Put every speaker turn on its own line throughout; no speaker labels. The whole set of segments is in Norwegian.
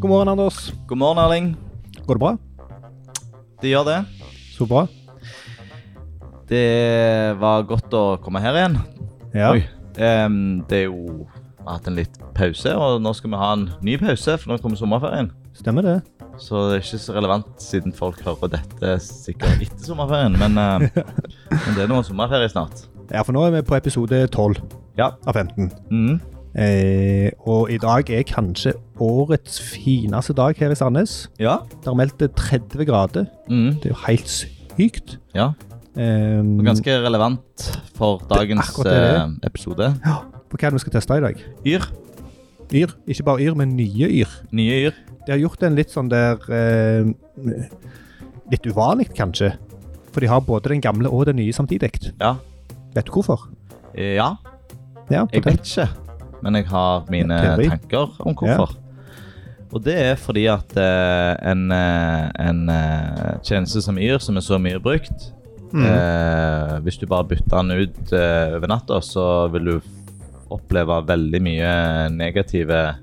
God morgen, Anders.
God morgen, Erling.
Går det bra?
Det gjør det.
Så bra.
Det var godt å komme her igjen.
Ja.
Oi. Em, det er jo Vi har hatt en litt pause, og nå skal vi ha en ny pause, for nå kommer sommerferien.
Stemmer det.
Så det er ikke så relevant siden folk hører dette sikkert etter sommerferien, men, eh, men det er nå sommerferie snart.
Ja, for nå er vi på episode 12
Ja.
av 15.
Mhm.
Eh, og i dag er kanskje årets fineste dag her i Sandnes.
Ja.
Det er meldt 30 grader.
Mhm.
Det er jo helt sykt.
ja.
Eh,
Og ganske relevant for dagens
akkurat det det er.
eh, episode.
ja, på hva er det vi skal teste i dag?
Yr.
Yr. Ikke bare yr, men nye yr.
Nye yr.
De har gjort en litt sånn der eh, Litt uvanlig, kanskje. For de har både den gamle og den nye samtidig.
Ja.
Vet du hvorfor?
Ja.
Ja, fortell.
Jeg vet ikke, men jeg har mine
Teori.
tanker om hvorfor. Og det er fordi at eh, en, eh, en eh, tjeneste som Yr, som er så mye brukt
Mm.
eh, Hvis du bare bytter den ut eh, over natta, så vil du f- oppleve veldig mye negative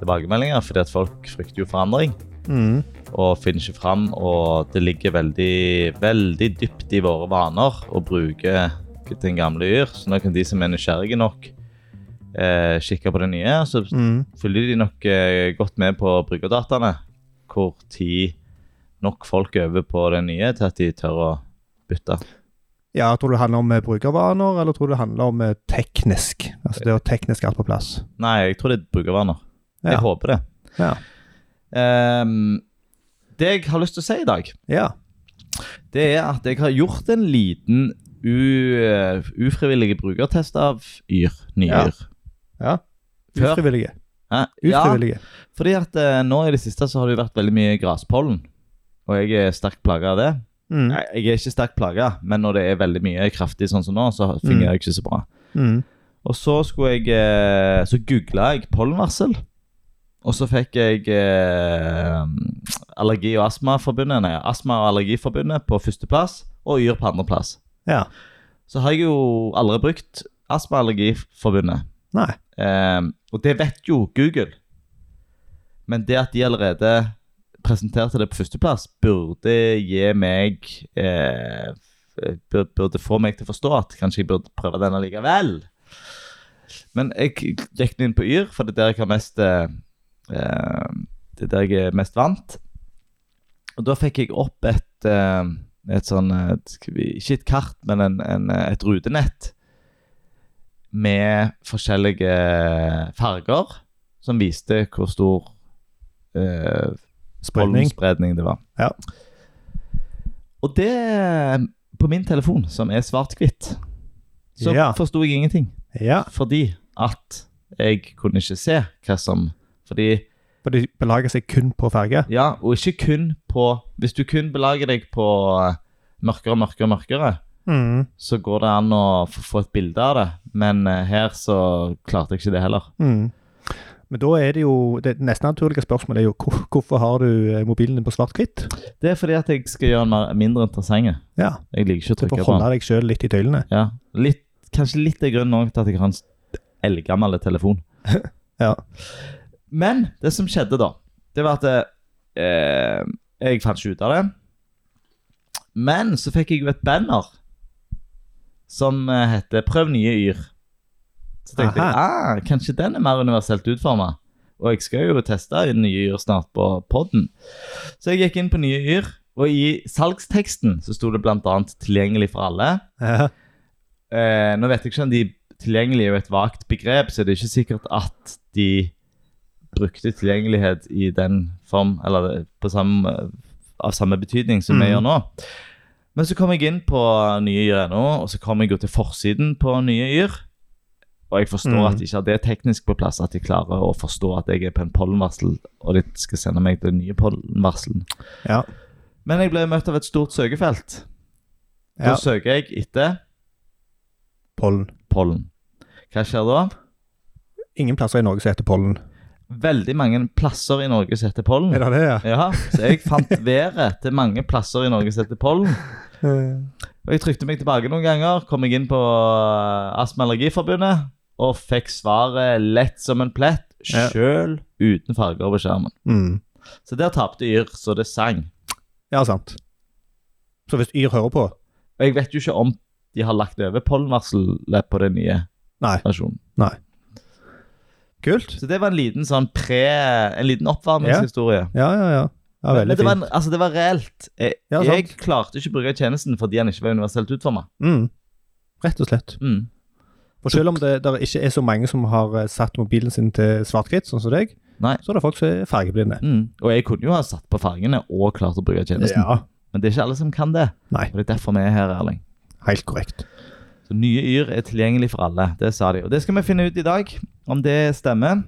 tilbakemeldinger, fordi at folk frykter jo forandring
Mm.
og finner ikke fram. Og det ligger veldig, veldig dypt i våre vaner å bruke den gamle yr. Så nå kan de som er nysgjerrige nok, eh, kikke på det nye. og Så
Mm.
følger de nok eh, godt med på brukerdataene. Hvor tid nok folk øver på det nye til at de tør å bytte.
Ja, tror du det handler om eh, brukervaner, eller tror du det handler om eh, teknisk? Altså det å teknisk alt på plass.
Nei, jeg tror det er brukervaner.
Ja.
Jeg håper det.
Ja.
Ehm, det jeg har lyst til å si i dag,
ja.
det er at jeg har gjort en liten u, eh, ufrivillig brukertest av Yr. Nye
Ja.
Yr.
ja.
Før-
Ufrivillige.
Hæ? Ja,
Ufrivillige.
fordi at eh, nå i det siste så har det jo vært veldig mye graspollen. Og jeg er sterkt plaga av det.
Mm.
Nei, jeg er ikke sterkt plaga, men når det er veldig mye kraftig sånn som nå, så fungerer jeg ikke så bra.
Mm.
Og så skulle jeg eh, Så googla jeg pollenvarsel. Og så fikk jeg eh, Allergi- og astmaforbundet Nei, Astma- og allergiforbundet på førsteplass og Yr på andreplass.
Ja.
Så har jeg jo aldri brukt Astma- og allergiforbundet.
Nei.
Eh, og det vet jo Google. Men det at de allerede presenterte det på førsteplass, burde gi meg eh, bur- Burde få meg til å forstå at kanskje jeg burde prøve den allikevel. Men jeg gikk inn på Yr, for det er der jeg har mest eh, eh, Det er der jeg er mest vant. Og da fikk jeg opp et eh, et sånn eh, skal vi- Ikke et kart, men en, en, eh, et rutenett med forskjellige farger som viste hvor stor eh,
Spredning.
pollenspredning det var.
Ja.
Og det på min telefon, som er svart-hvitt, så
Ja.
forsto jeg ingenting.
Ja.
Fordi at jeg kunne ikke se hva som Fordi
For de belager seg kun på farge.
Ja, og ikke kun på Hvis du kun belager deg på eh, mørkere, mørkere, mørkere,
Mm.
så går det an å f- få et bilde av det. Men eh, her så klarte jeg ikke det heller.
Mm. Men da er det jo Det nesten naturlige spørsmålet er jo hvor, hvorfor har du eh, mobilen din på svart-hvitt?
Det er fordi at jeg skal gjøre den mer, mindre interessant.
Ja.
Jeg liker ikke å
Du får
trykke på den.
holde deg sjøl litt i tøylene.
Ja, litt, kanskje litt er grunnen også til at jeg har en st- eldgammel telefon.
Ja.
Men det som skjedde da, det var at eh, jeg fant ikke ut av det. Men så fikk jeg jo et banner som eh, heter 'Prøv nye yr'. Så tenkte jeg ah, kanskje den er mer universelt utforma. Og jeg skal jo teste nye yr snart på podden. Så jeg gikk inn på nye yr, og i salgsteksten så sto det bl.a. 'tilgjengelig for alle'.
Ja.
Eh, nå vet jeg ikke om de tilgjengelige er jo et vagt begrep, så det er ikke sikkert at de brukte tilgjengelighet i den form, eller på samme, av samme betydning som vi
Mm.
gjør nå. Men så kom jeg inn på nye yr.no, og så kom jeg jo til forsiden på nye yr. Og jeg forstår
Mm.
at de ikke har det teknisk på plass, at de klarer å forstå at jeg er på en pollenvarsel, og de skal sende meg den nye pollenvarselen.
Ja.
Men jeg ble møtt av et stort søkefelt. Da
ja.
søker jeg etter
Pollen.
pollen. Hva skjer da?
Ingen plasser i Norge som heter pollen.
Veldig mange plasser i Norge som heter pollen.
Er det det, ja?
Ja, så jeg fant været til mange plasser i Norge som heter pollen.
Eh,
Og jeg trykte meg tilbake noen ganger, kom jeg inn på eh, Astma- og allergiforbundet, og fikk svaret lett som en plett,
Ja.
sjøl uten farger på skjermen.
Mm.
Så der tapte Yr, så det sang.
Ja, sant. Så hvis Yr hører på
Og jeg vet jo ikke om de har lagt over pollenvarselet på den nye
Nei.
versjonen.
Kult.
Så det var en liten sånn pre En liten oppvarmingshistorie.
Ja, ja, ja. ja
Men
veldig
det var,
fint.
en, altså det var reelt. Jeg,
Ja, sant.
jeg klarte ikke å bruke tjenesten fordi den ikke var universelt utforma.
Mm. Rett og slett.
Mm.
For selv om det der ikke er så mange som har eh, satt mobilen sin til svart-hvitt, sånn som deg,
Nei.
så er det folk som er fargeblinde.
Mm. Og jeg kunne jo ha satt på fargene og klart å bruke tjenesten,
Ja,
men det er ikke alle som kan det.
Nei.
Og det er derfor vi er her, Erling.
helt korrekt.
Så nye Yr er tilgjengelig for alle. Det sa de. Og det skal vi finne ut i dag, om det stemmer.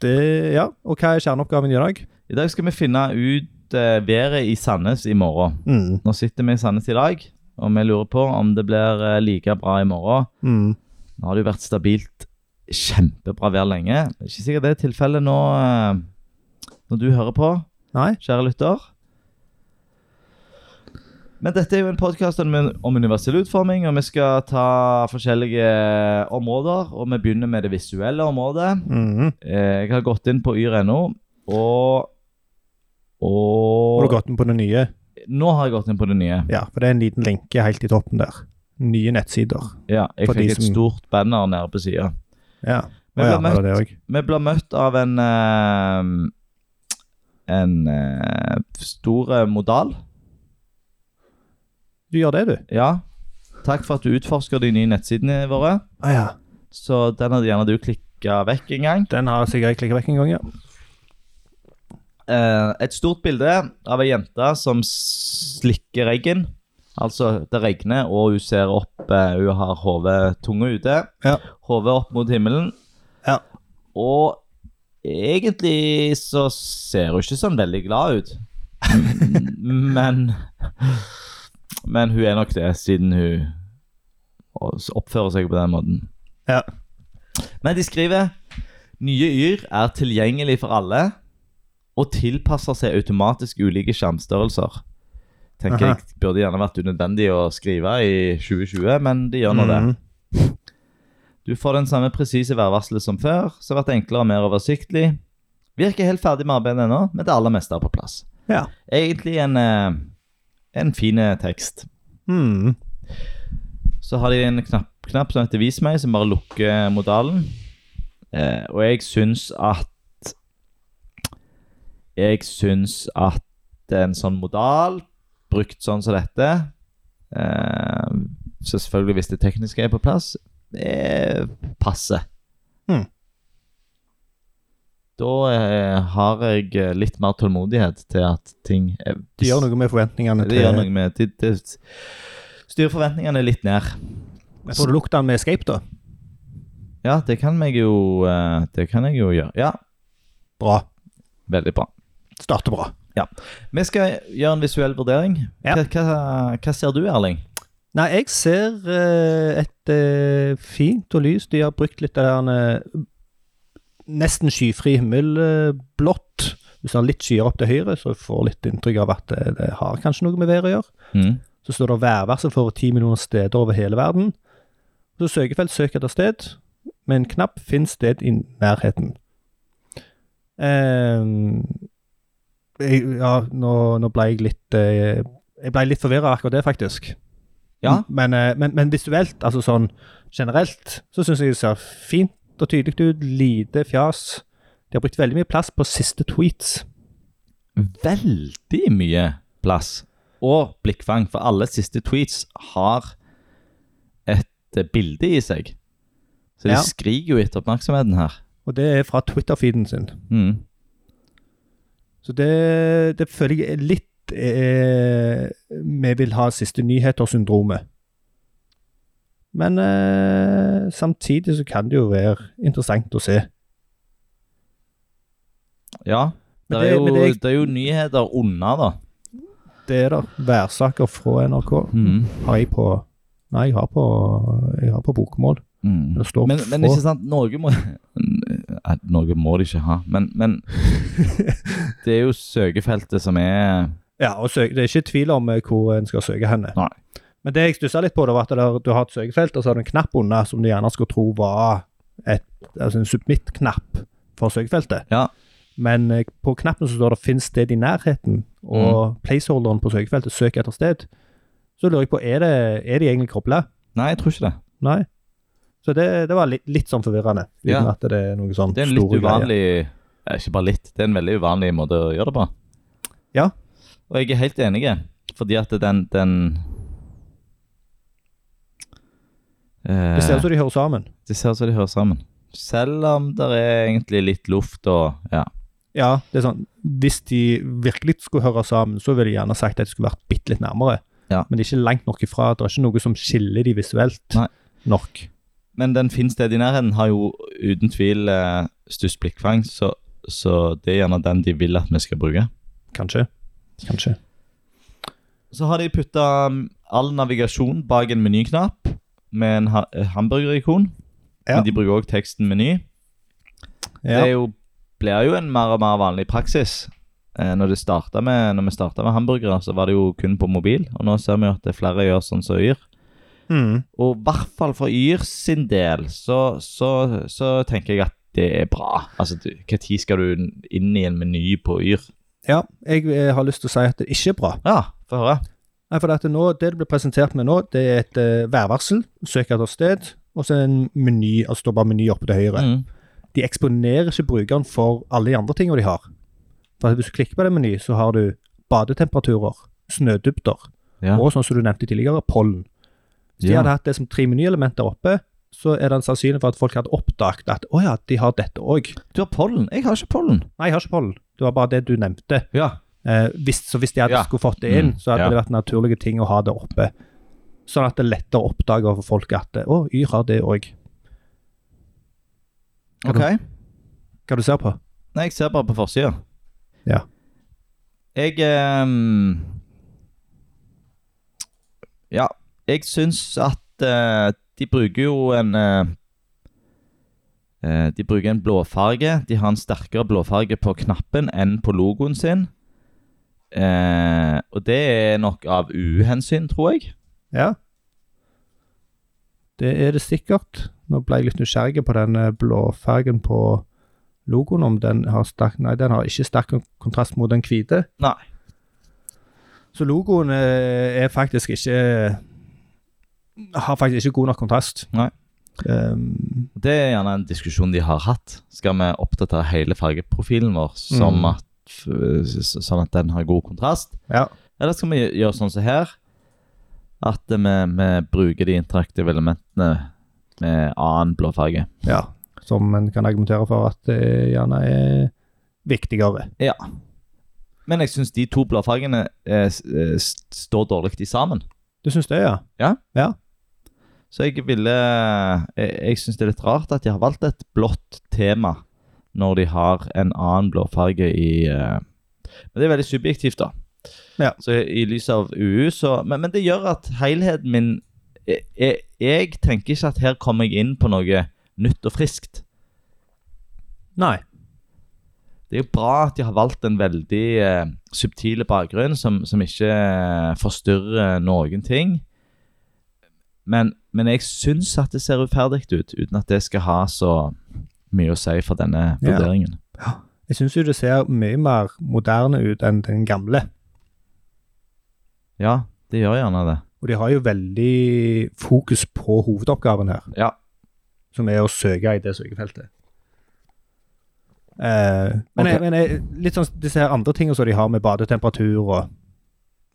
Det, ja, Og hva er kjerneoppgaven i dag?
I dag skal vi finne ut eh, været i Sandnes i morgen.
Mm.
Nå sitter vi i Sandnes i dag, og vi lurer på om det blir eh, like bra i morgen.
Mm.
Nå har det jo vært stabilt kjempebra vær lenge. Det er ikke sikkert det er tilfellet nå eh, når du hører på,
Nei?
kjære lytter. Men dette er jo en podkast om om universell utforming, og vi skal ta forskjellige områder. Og vi begynner med det visuelle området.
Mm.
Eh, Jeg har gått inn på yr.no, og,
Har du
og
gått inn på det nye?
Nå har jeg gått inn på det nye.
Ja, for det er en liten lenke helt i toppen der. Nye nettsider.
Ja, jeg
For de
fikk et
som-
stort banner nede på sida.
Ja.
Vi
Å ja,
ble
var det det
møtt,
også?
vi ble møtt av en eh, En eh, stor eh, modal.
Du gjør det, du?
Ja. Takk for at du utforsker de nye nettsidene våre.
Ah, ja.
Så den hadde gjerne du klikka vekk en gang.
Den har sikkert jeg klikket vekk en gang, ja.
Eh, et stort bilde av ei jente som slikker regn. Altså, det regner, og hun ser opp eh, Hun har hodet tunga ute.
Ja.
Hodet opp mot himmelen.
Ja.
Og egentlig så ser hun ikke sånn veldig glad ut. men Men hun er nok det, siden hun oppfører seg på den måten.
Ja.
Men de skriver Nye yr er tilgjengelig for alle og tilpasser seg automatisk ulike skjermstørrelser. Tenker
Aha.
jeg burde gjerne vært unødvendig å skrive i 2020, men de gjør nå det.
Mhm.
Du får den samme presise værvarselet som før, som har vært enklere og mer oversiktlig. Virker helt ferdig med arbeidet ennå, men det aller meste er på plass.
Ja.
Egentlig en, eh, en fin eh, tekst.
Mm.
Så har de en knapp, knapp som heter 'vis meg', som bare lukker modalen. Eh, og jeg syns at Jeg syns at en sånn modal, brukt sånn som dette eh, så Selvfølgelig hvis det tekniske er på plass, eh, passer.
Hmm.
Da eh, har jeg eh, litt mer tålmodighet til at ting eh,
De gjør noe med forventningene
det gjør
til
noe med de, de, Styr forventningene litt ned.
Får du lukt den med escape, da?
Ja, det kan jeg jo eh, Det kan jeg jo gjøre. Ja,
Bra.
veldig bra.
Starter bra.
Vi skal gjøre en visuell vurdering.
Ja.
Hva, hva, hva ser du, Erling?
Nei, jeg ser eh, et eh, fint og lys. De har brukt litt av den eh, nesten skyfri himmel, eh, blått. Hvis du har litt skyer opp til høyre, så får du litt inntrykk av at eh, det har kanskje noe med været å gjøre.
Mm.
Så står det værvarsel for ti millioner steder over hele verden. Så søkefelt søk etter sted. Med en knapp finn sted i nærheten. Ehm, jeg, ja, nå, nå ble jeg litt eh, Jeg ble litt forvirra akkurat det, faktisk.
Ja.
Men, eh, men, men visuelt, altså sånn generelt, så syns jeg det ser fint og tydelig ut. Lite fjas. De har brukt veldig mye plass på siste tweets.
Veldig mye plass og blikkfang, for alle siste tweets har et eh, bilde i seg. Så de
Ja.
skriker jo etter oppmerksomheten her.
Og det er fra Twitter-feeden sin.
Mm.
Så det, det føler jeg er litt eh, Vi vil ha siste nyheter-syndromet. Men eh, samtidig så kan det jo være interessant å se.
Ja.
Men
Det
det-
er, jo,
men det-
det er jo nyheter unna, da.
Det er der værsaker fra NRK.
Mm.
Har jeg på Nei, jeg har på, jeg har på bokmål.
Mm.
Det står eh,
Men,
på.
men ikke sant, Norge må Nei, Norge må de ikke ha, men, men Det er jo søkefeltet som er
Ja, og søk, Det er ikke tvil om eh, hvor en skal søke henne.
Nei.
Men det jeg stussa litt på, det var at det der, du har et søkefelt, og så har du en knapp under som du gjerne skulle tro var et, altså en submit-knapp fra søkefeltet.
Ja.
Men eh, på knappen så står det 'finn sted i nærheten', og
Mm.
placeholderen på søkefeltet 'søk etter sted'. Så lurer jeg på, er, det, er de egentlig kobla?
Nei, jeg tror ikke det.
Nei. Så det, det var litt, litt sånn forvirrende, uten
Ja.
at det er noe sånn
Det er en litt
store greier.
uvanlig eh, Ikke bare litt, det er en veldig uvanlig måte å gjøre det på.
Ja.
Og jeg er helt enig, fordi at den, den eh,
Det ser ut som de hører sammen.
det ser ut som de hører sammen. Selv om det er egentlig litt luft og Ja.
Ja, det er sånn Hvis de virkelig skulle høre sammen, så ville de gjerne sagt at de skulle vært bitte litt nærmere.
Ja.
Men det er ikke langt nok ifra. Det er ikke noe som skiller de visuelt
Nei.
nok.
Men den Finn sted i nærheten har jo uten tvil eh, størst blikkfang, så, så det er gjerne den de vil at vi skal bruke.
Kanskje. Kanskje.
Så har de putta all navigasjon bak en menyknapp med en ha eh, hamburgerikon.
Ja.
Men de bruker òg teksten meny. Det
Ja.
er jo, blir jo en mer og mer vanlig praksis. Eh, når, det startet med, når vi starta med hamburgere, så var det jo kun på mobil. Og nå ser vi jo at det er flere gjør sånn som Yr.
Mm.
Og i hvert fall for Yr sin del, så, så, så tenker jeg at det er bra. Altså, Når skal du inn i en meny på Yr?
ja. Jeg eh, har lyst til å si at det ikke er bra.
Ja, få høre.
Nei, for at det, nå, det det blir presentert med nå, det er et eh, værvarsel. Søk etter sted. Og så en meny. Altså står bare meny oppe til høyre.
Mm.
de eksponerer ikke brukeren for alle de andre tingene de har. For Hvis du klikker på den menyen, så har du badetemperaturer, snødybder
Ja.
og sånn som du nevnte tidligere, pollen. Hvis de
Ja.
hadde hatt det som tre menyelementer oppe, så er det en sannsynlig for at folk hadde oppdaget at å ja, de har dette òg.
Du har pollen. Jeg har ikke pollen.
Nei, jeg har ikke pollen. Det var bare det du nevnte.
Ja.
Eh, hvis, så hvis de hadde
Ja.
skulle fått det inn,
Mm,
så hadde
ja.
det vært naturlige ting å ha det oppe. Sånn at det er lettere å oppdage for folk at å, Yr har det òg.
Ok.
Hva du ser på?
Nei, jeg ser bare på forsida.
Ja.
Jeg ehm, Ja, jeg syns at eh, de bruker jo en eh, eh, De bruker en blåfarge. De har en sterkere blåfarge på knappen enn på logoen sin. Eh, og det er nok av uhensyn, tror jeg.
Ja. Det er det sikkert. Nå ble jeg litt nysgjerrig på den eh, blåfargen på logoen, om den har sterk Nei, den har ikke sterk kon- kontrast mot den hvite.
Nei.
Så logoen eh, er faktisk ikke eh, Har faktisk ikke god nok kontrast.
Nei.
Ehm,
Og Det er gjerne en diskusjon de har hatt. Skal vi oppdatere hele fargeprofilen vår som
Mm.
at, f- s- sånn at den har god kontrast?
ja.
Eller skal vi gjø- gjøre sånn som her? At eh, vi, vi bruker de interaktive elementene med annen blåfarge.
ja. Som en kan argumentere for at det gjerne er viktigere.
Ja. Men jeg syns de to blåfargene eh, s- eh, s- står dårlig i sammen.
Du syns det, ja?
Så jeg ville Jeg, jeg syns det er litt rart at de har valgt et blått tema når de har en annen blåfarge i eh, Men det er veldig subjektivt, da.
Ja.
Så i lys av UU, så Men, men det gjør at helheten min jeg, jeg, jeg tenker ikke at her kommer jeg inn på noe nytt og friskt.
Nei.
Det er jo bra at de har valgt en veldig eh, subtile bakgrunn som, som ikke eh, forstyrrer noen ting. Men, men jeg syns at det ser uferdig ut, uten at det skal ha så mye å si for denne
Ja.
vurderingen.
Jeg syns jo det ser mye mer moderne ut enn den gamle.
Ja, det gjør gjerne det.
Og de har jo veldig fokus på hovedoppgaven her,
Ja.
som er å søke i det søkefeltet. Eh, men
Ok.
jeg, men jeg, litt sånn disse her andre tingene som de har med badetemperatur og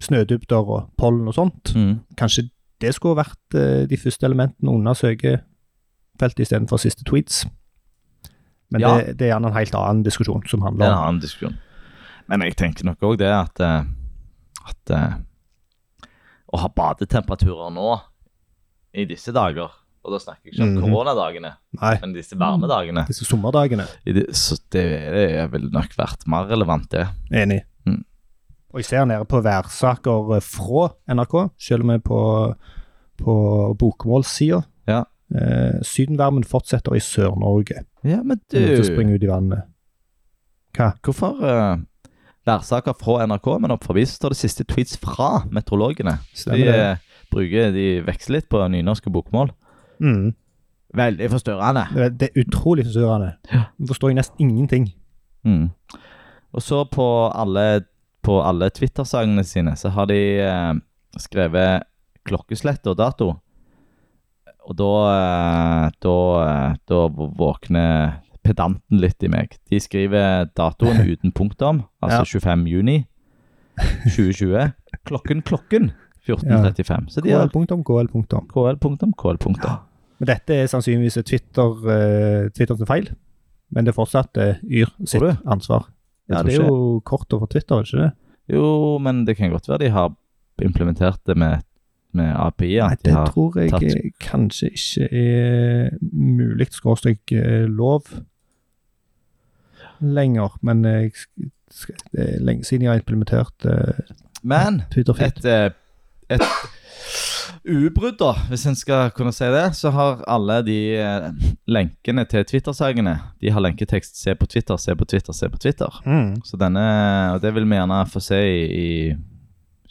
snødybder og pollen og sånt,
Mm.
kanskje det skulle vært eh, de første elementene under søkefeltet istedenfor siste tweets. Men
Ja.
det, det er gjerne en helt annen diskusjon som
Det er
handler
en
om
annen diskusjon. Men jeg tenker nok òg det at, eh, at eh, Å ha badetemperaturer nå, i disse dager Og da snakker jeg ikke om
Mhm. Mm.
koronadagene,
Nei,
men disse varme dagene.
disse sommerdagene.
I det, så det, det er vel nok vært mer relevant, det.
Enig.
Mm.
Og jeg ser nede på værsaker eh, fra NRK, selv om vi er på, på bokmålssida.
Ja.
Eh, sydenvarmen fortsetter i Sør-Norge.
Ja, men
Det er noe som springer ut i vannet.
Hvorfor eh, værsaker fra NRK, men opp forbi så står det siste tweets fra meteorologene. Så
Stemmer
de
det.
eh, bruker, de veksler litt på nynorsk og bokmål.
Mm.
Veldig forstørrende.
Det er- Det er utrolig forstyrrende.
Ja.
Jeg forstår jo nesten ingenting.
Mm. Og så på alle, på alle Twitter-sangene sine så har de eh, skrevet klokkeslett og dato. Og da eh, da, eh, da våkner pedanten litt i meg. De skriver datoen uten punktum, altså 25. juni 2020. Klokken klokken 14.35. Så de har
KL punktum, KL punktum.
KL punktum, KL punktum.
Men dette er sannsynligvis et Twitter, eh, Twitter sin feil. Men det er fortsatt eh, Yr sitt
Tror
ansvar. Jeg
Ja,
tror
det
det er jo kort over Twitter, er det ikke det?
Jo, men det kan godt være de har implementert det med, med API-er.
Nei,
de
det
har-
tror jeg
tatt-
eh, kanskje ikke er mulig, skråstrek eh, lov, lenger. Men eh, jeg sk- sk- det er lenge siden jeg har implementert eh,
Men
Twitter-feed.
et, eh, et ubrudd, da, hvis en skal kunne si det, så har alle de eh, lenkene til Twitter-sakene De har lenketekst 'se på Twitter', 'se på Twitter', 'se på Twitter'.
Mm.
Så denne, og det vil vi gjerne få se i, i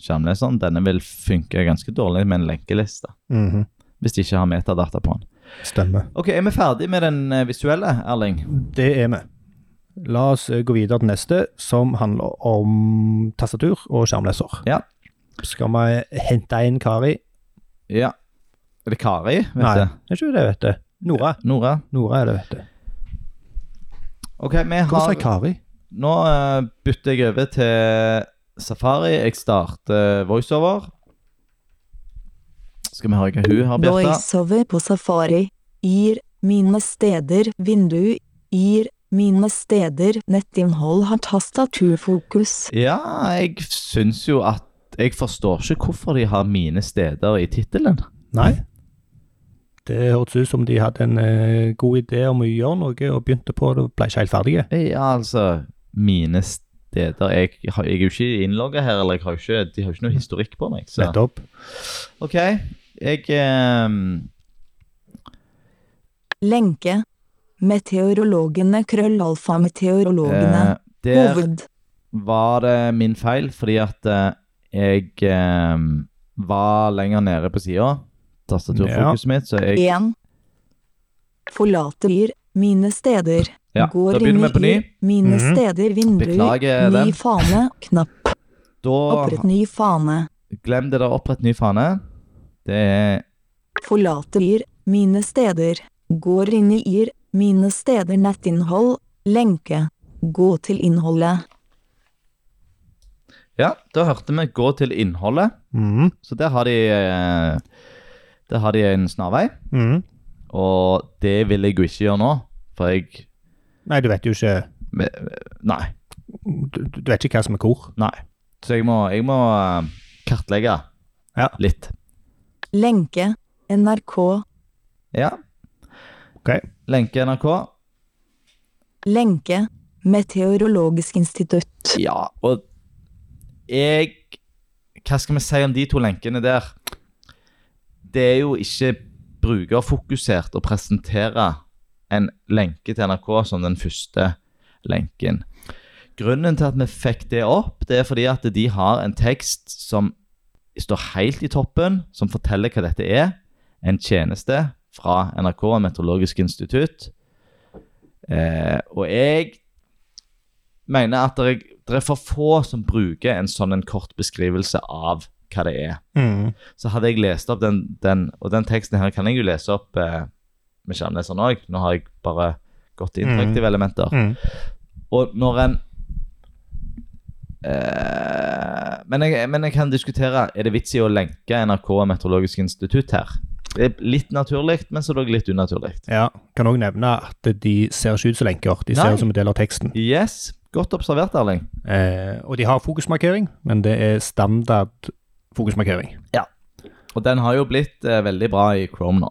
skjermleseren, denne vil funke ganske dårlig med en lenkeliste.
Mhm.
Hvis de ikke har metadata på den.
Stemmer.
Ok, Er vi ferdig med den eh, visuelle, Erling?
Det er vi. La oss eh, gå videre til neste, som handler om tastatur og skjermleser.
Ja.
Skal vi hente inn Kari?
Ja. Er det Kari? Vet
Nei,
du?
det er ikke det, vet du. Nora.
Nora?
Nora er det, vet du.
Ok, vi
Hvorfor sa
har
jeg Kari?
Nå eh, bytter jeg over til Safari. Jeg starter voiceover. Skal vi høre hva hun har, Bjarte?
Voiceover på Safari. Ir mine steder vindu. Ir mine steder nettinnhold har tastaturfokus.
Ja, jeg syns jo at Jeg forstår ikke hvorfor de har 'Mine steder' i tittelen.
Nei. Det hørtes ut som de hadde en eh, god idé om å gjøre noe, og begynte på det og ble ikke helt ferdige.
Ja, altså 'Mine steder' Jeg, har- jeg er jo ikke innlogga her, eller jeg har jo ikke, de har jo ikke noe historikk på meg. Så.
Nettopp.
OK. Jeg eh,
Lenke. Meteorologene krøllalfa meteorologene.
eh, der-
Hoved.
var det min feil, fordi at eh, jeg eh, var lenger nede på sida. Tastaturfokuset mitt, så jeg
1. Forlater ir mine steder.
Ja, da
Går
begynner
inn
vi på
i
ny.
ir mine
Mhm.
steder vindu.
Beklager
Ny
den.
fane. Knapp.
Da
Opprett ny fane.
Glem det der opprett ny fane. Det er
Forlater ir mine steder. Går inn i ir mine steder nettinnhold. Lenke. Gå til innholdet.
Ja, da hørte vi 'gå til innholdet',
Mhm.
så der har de eh, Der har de en snarvei.
Mhm.
Og det vil jeg jo ikke gjøre nå, for jeg
Nei, du vet jo ikke
Nei.
Du, du vet ikke hva som er hvor.
Nei. Så jeg må, jeg må eh, kartlegge
Ja.
litt.
Lenke. NRK.
Ja.
Ok.
Lenke NRK.
Lenke. Meteorologisk institutt.
Ja, og jeg Hva skal vi si om de to lenkene der? Det er jo ikke brukerfokusert å presentere en lenke til NRK som den første lenken. Grunnen til at vi fikk det opp, det er fordi at de har en tekst som står helt i toppen, som forteller hva dette er. En tjeneste fra NRK, Meteorologisk institutt. Eh, og jeg mener at det er, det er for få som bruker en sånn en kort beskrivelse av hva det er.
Mhm.
Så hadde jeg lest opp den, den og den teksten her kan jeg jo lese opp eh, med skjermleseren òg. Nå har jeg bare gått til interaktive elementer.
Mhm.
Og når en eh, men, jeg, men jeg kan diskutere Er det vits i å lenke NRK og Meteorologisk institutt her. Det er litt naturlig, men så dog litt unaturlig.
Ja. Kan òg nevne at de ser ikke ut som lenker. De ser
Nei.
ut som en del av teksten.
Yes, godt observert, Erling.
Eh, og de har fokusmarkering, men det er standard fokusmarkering.
Og den har jo blitt eh, veldig bra i Chrome nå.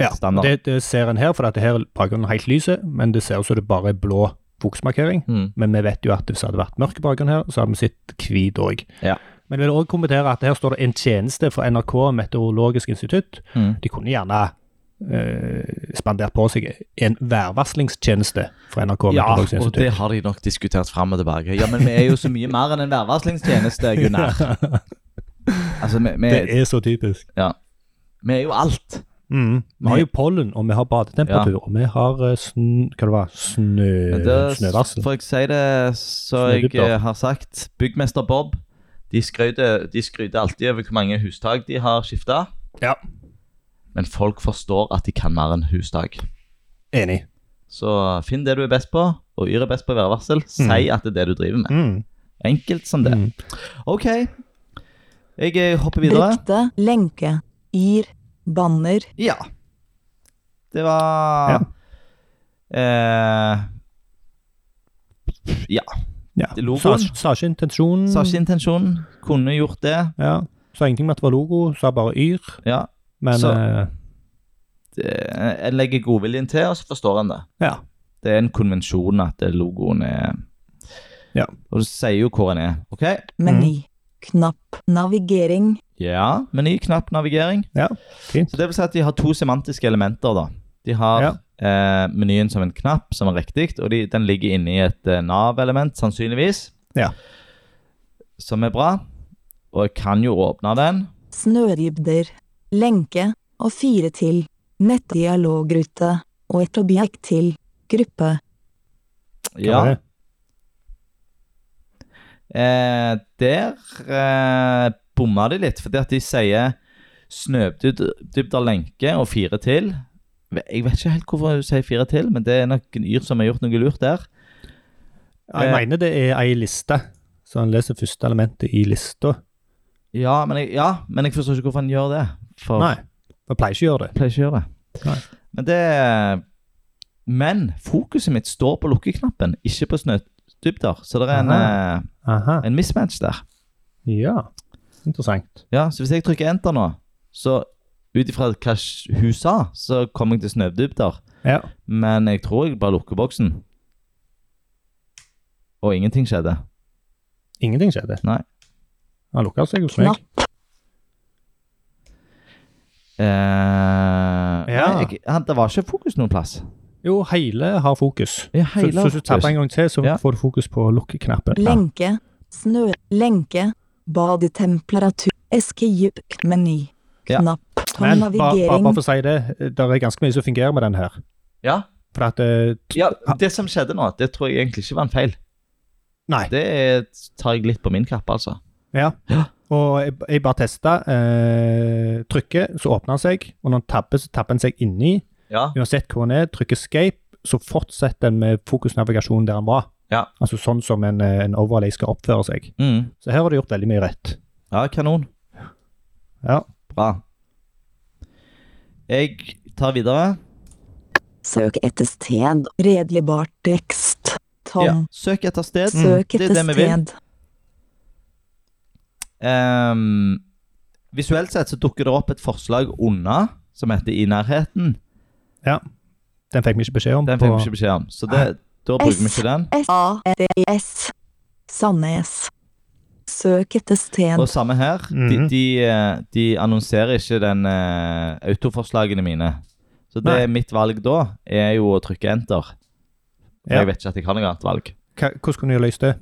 Ja,
Standard.
Det, det ser en her, for at det her er bakgrunnen helt lyset, men det ser ut som det bare er blå fokusmarkering.
Mm.
Men vi vet jo at hvis det hadde vært mørk bakgrunn her, så hadde vi sett hvit òg.
Ja.
Men jeg vil òg kommentere at her står det en tjeneste fra NRK Meteorologisk institutt.
Mm.
De kunne gjerne eh, spandert på seg en værvarslingstjeneste fra NRK
Ja,
Meteorologisk
og det
institutt.
har de nok diskutert fram og tilbake. Ja, men vi er jo så mye mer enn en værvarslingstjeneste, Gunnar. Altså, vi, vi,
er så typisk.
vi er jo alt.
Mm. Vi har jo pollen, og vi har badetemperatur, og vi har eh, sn hva det var, snø,
Men det-
snøvarsel.
For jeg sier det så jeg
Snødybder.
eh, har sagt, byggmester Bob, de skryter, de skryter alltid over hvor mange hustak de har skifta.
Ja.
Men folk forstår at de kan mer enn hustak.
Enig.
Så finn det du er best på, og Yr er best på værvarsel. Si at det er det du driver med.
Mm.
Enkelt som det.
Mm.
OK. Jeg eh, hopper videre.
Brukte lenke. Ir. Banner.
Ja. Det var
Ja.
Eh,
Ja.
Logoen?
Sa, sa ikke intensjonen.
Sa ikke intensjonen. Kunne gjort det.
Ja. Sa ingenting med at det var logo, sa bare yr.
Ja.
Men
Så-
eh,
det, en legger godviljen til, og så forstår en det.
ja.
Det er en konvensjon at logoen er
Ja.
Og du sier jo hvor en er. OK?
Meny. Knapp. Navigering.
Ja, meny, knapp, navigering.
ja.
Så det vil si at de har to semantiske elementer, da. De har eh, menyen som en knapp, som er riktig, og de, den ligger inni et eh, Nav-element, sannsynligvis.
Ja.
Som er bra. Og jeg kan jo åpne den.
Snødybder. Lenke. Og fire til. Nettdialogrute. Og et objekt til. Gruppe.
Ja.
det var det.
Eh, der eh, bomma de litt, fordi at de sier snødybder lenke og fire til. Jeg vet ikke helt hvorfor hun sier fire til, men det er nok en yr som har gjort noe lurt der.
Ja, Jeg
Eh.
mener det er ei liste, så han leser første elementet i lista.
Ja, men jeg, ja, men jeg forstår ikke hvorfor han gjør det. For
Nei, jeg pleier ikke å gjøre det.
jeg pleier ikke å gjøre det.
Nei.
Men det Men fokuset mitt står på lukkeknappen, ikke på snødybder. Så det er en,
Aha.
eh,
Aha.
en mismatch der.
Ja, interessant.
Ja, så hvis jeg trykker enter nå, så ut ifra hva s- hun sa, så kommer jeg til snødybder.
Ja.
Men jeg tror jeg bare lukker boksen. Og ingenting skjedde.
Ingenting skjedde.
Nei.
Han lukka seg hos meg.
Knapp.
Eh,
Ja.
nei, jeg, han, det var ikke fokus noen plass.
Jo, hele har fokus.
Ja,
Så,
hele
så hvis du tapper en gang til, så
Ja.
får du fokus på lukkeknappen.
Lenke. Snø. Lenke. Badetemperatur. Escape. Meny.
Ja.
Knapp.
Men bare, bare,
navigering.
bare for å si det, det er ganske mye som fungerer med den her.
Ja.
For at eh, t-
ja, det som skjedde nå, det tror jeg egentlig ikke var en feil.
Nei.
Det er, tar jeg litt på min kappe, altså.
Ja.
Ja.
Og jeg, jeg bare testa. Eh, trykker, så åpner den seg. Og når den tapper, så tapper den seg inni.
Ja,
Uansett hvor den er, trykker escape, så fortsetter den med fokusnavigasjonen der den var.
Ja.
Altså sånn som en, eh, en overlay skal oppføre seg.
mm.
Så her har du gjort veldig mye rett.
ja kanon.
Ja.
Bra. Jeg tar videre.
Søk etter sted. Redelig bartekst. Tom.
Ja. Søk etter sted. Mm.
Søk
Det er
etter
det vi vil.
sted.
Ehm, visuelt sett så dukker det opp et forslag unna, som heter 'i nærheten'.
Den fikk vi ikke beskjed om.
Den fikk vi ikke beskjed om, så det, da bruker vi ikke den.
S-A-D-S. Sandnes. Søk etter sted.
Og samme her. De,
Mhm.
de, eh, de annonserer ikke den eh, autoforslagene mine. Så det
Nei.
mitt valg da er jo å trykke enter. For
Ja.
jeg vet ikke at jeg har noe annet valg.
Hva, hvordan kunne du løst det?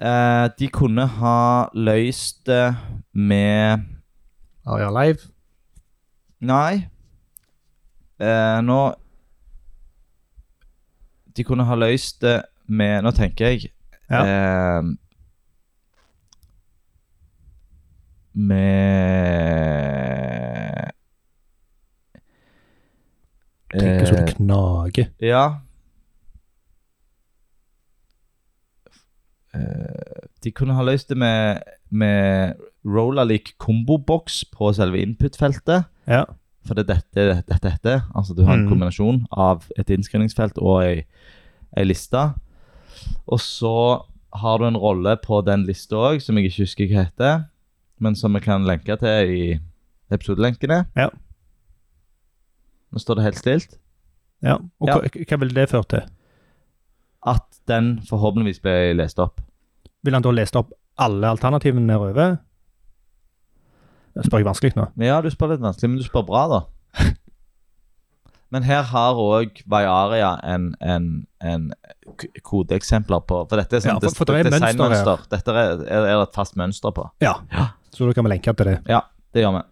Eh, de kunne ha løst det med
Aria Live?
Nei. Eh, nå De kunne ha løst det med Nå tenker jeg eh, Med
Tenker så
Eh,
det knager.
Ja. Eh, de kunne ha løst det med, med Rolalik komboboks på selve input-feltet.
Ja.
For det er dette, dette, dette. Altså du har en
Mm.
kombinasjon av et innskrivningsfelt og ei, ei liste. Og så har du en rolle på den lista òg, som jeg ikke husker hva heter, men som vi kan lenke til i episodelenkene.
Ja.
Nå står det helt stilt.
ja. Og
Ja.
Hva, hva ville det ført til?
At den forhåpentligvis ble lest opp.
Ville han da lest opp alle alternativene nedover? Jeg spør jeg vanskelig nå.
Men ja, du spør litt vanskelig, men du spør bra, da. Men her har òg Vajaria en, en, en k- kodeeksempler på For dette er sånn
Ja, for- for det er mønster her.
designmønster. Dette er, er, er det et fast mønster på.
Ja. Så da kan vi lenke til det.
Ja, det gjør vi.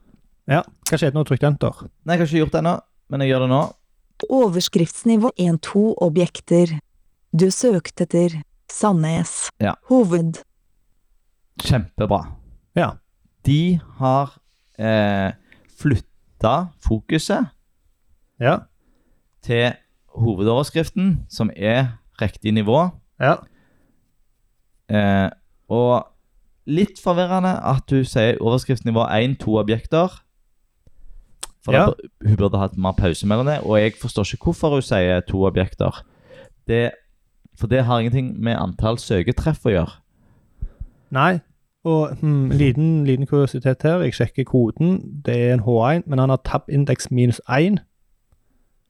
Ja, hva skjedde når du trykte enter?
Nei, jeg har ikke gjort det ennå, men jeg gjør det nå.
Overskriftsnivå 1-2 objekter. Du søkte etter Sandnes.
Ja.
Hoved.
Kjempebra.
Ja.
De har eh, flytta fokuset
Ja.
til hovedoverskriften, som er riktig nivå.
Ja.
Eh, og litt forvirrende at hun sier overskriftsnivå 1, to objekter. For
Ja.
da bur- hun burde hatt mer pause mellom det, og jeg forstår ikke hvorfor hun sier to objekter. Det, for det har ingenting med antall søketreff å gjøre.
Nei. Og hmm, liten, liten kuriositet her. Jeg sjekker koden. Det er en H1, men han har tab-indeks minus 1.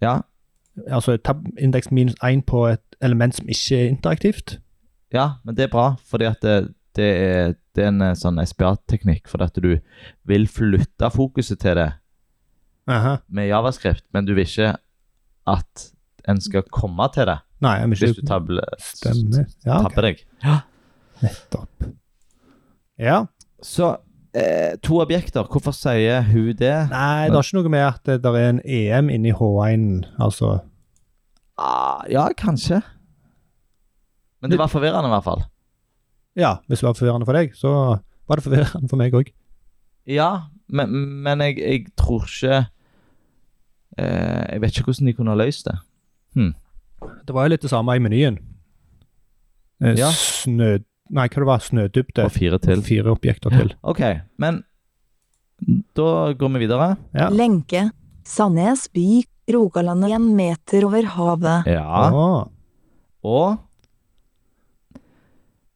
Ja,
Altså tab-indeks minus 1 på et element som ikke er interaktivt.
ja men det er bra, fordi at det, det, er, det er en eh, sånn SPA-teknikk, fordi at du vil flytte fokuset til det
Aha.
med javascript, men du vil ikke at en skal komme til det
Nei, jeg vil
hvis du
ikke
tabler,
stemme. Ja, ok.
tabber deg.
nettopp. Ja.
Så eh, to objekter, hvorfor sier hun det?
Nei, det har ikke noe med at det der er en EM inni H1, altså.
Ah, ja, kanskje. Men det var forvirrende i hvert fall.
Ja, hvis det var forvirrende for deg, så var det forvirrende for meg òg.
Ja, men, men jeg, jeg tror ikke eh, Jeg vet ikke hvordan de kunne ha løst det.
Det var jo litt det samme i menyen. Eh,
Ja.
Snø... Nei, hva det var snødybde.
Og fire til.
Fire objekter til.
OK, men da går vi videre.
Ja.
Lenke. Sandnes by. Rogaland én meter over havet.
Ja.
Åh,
Og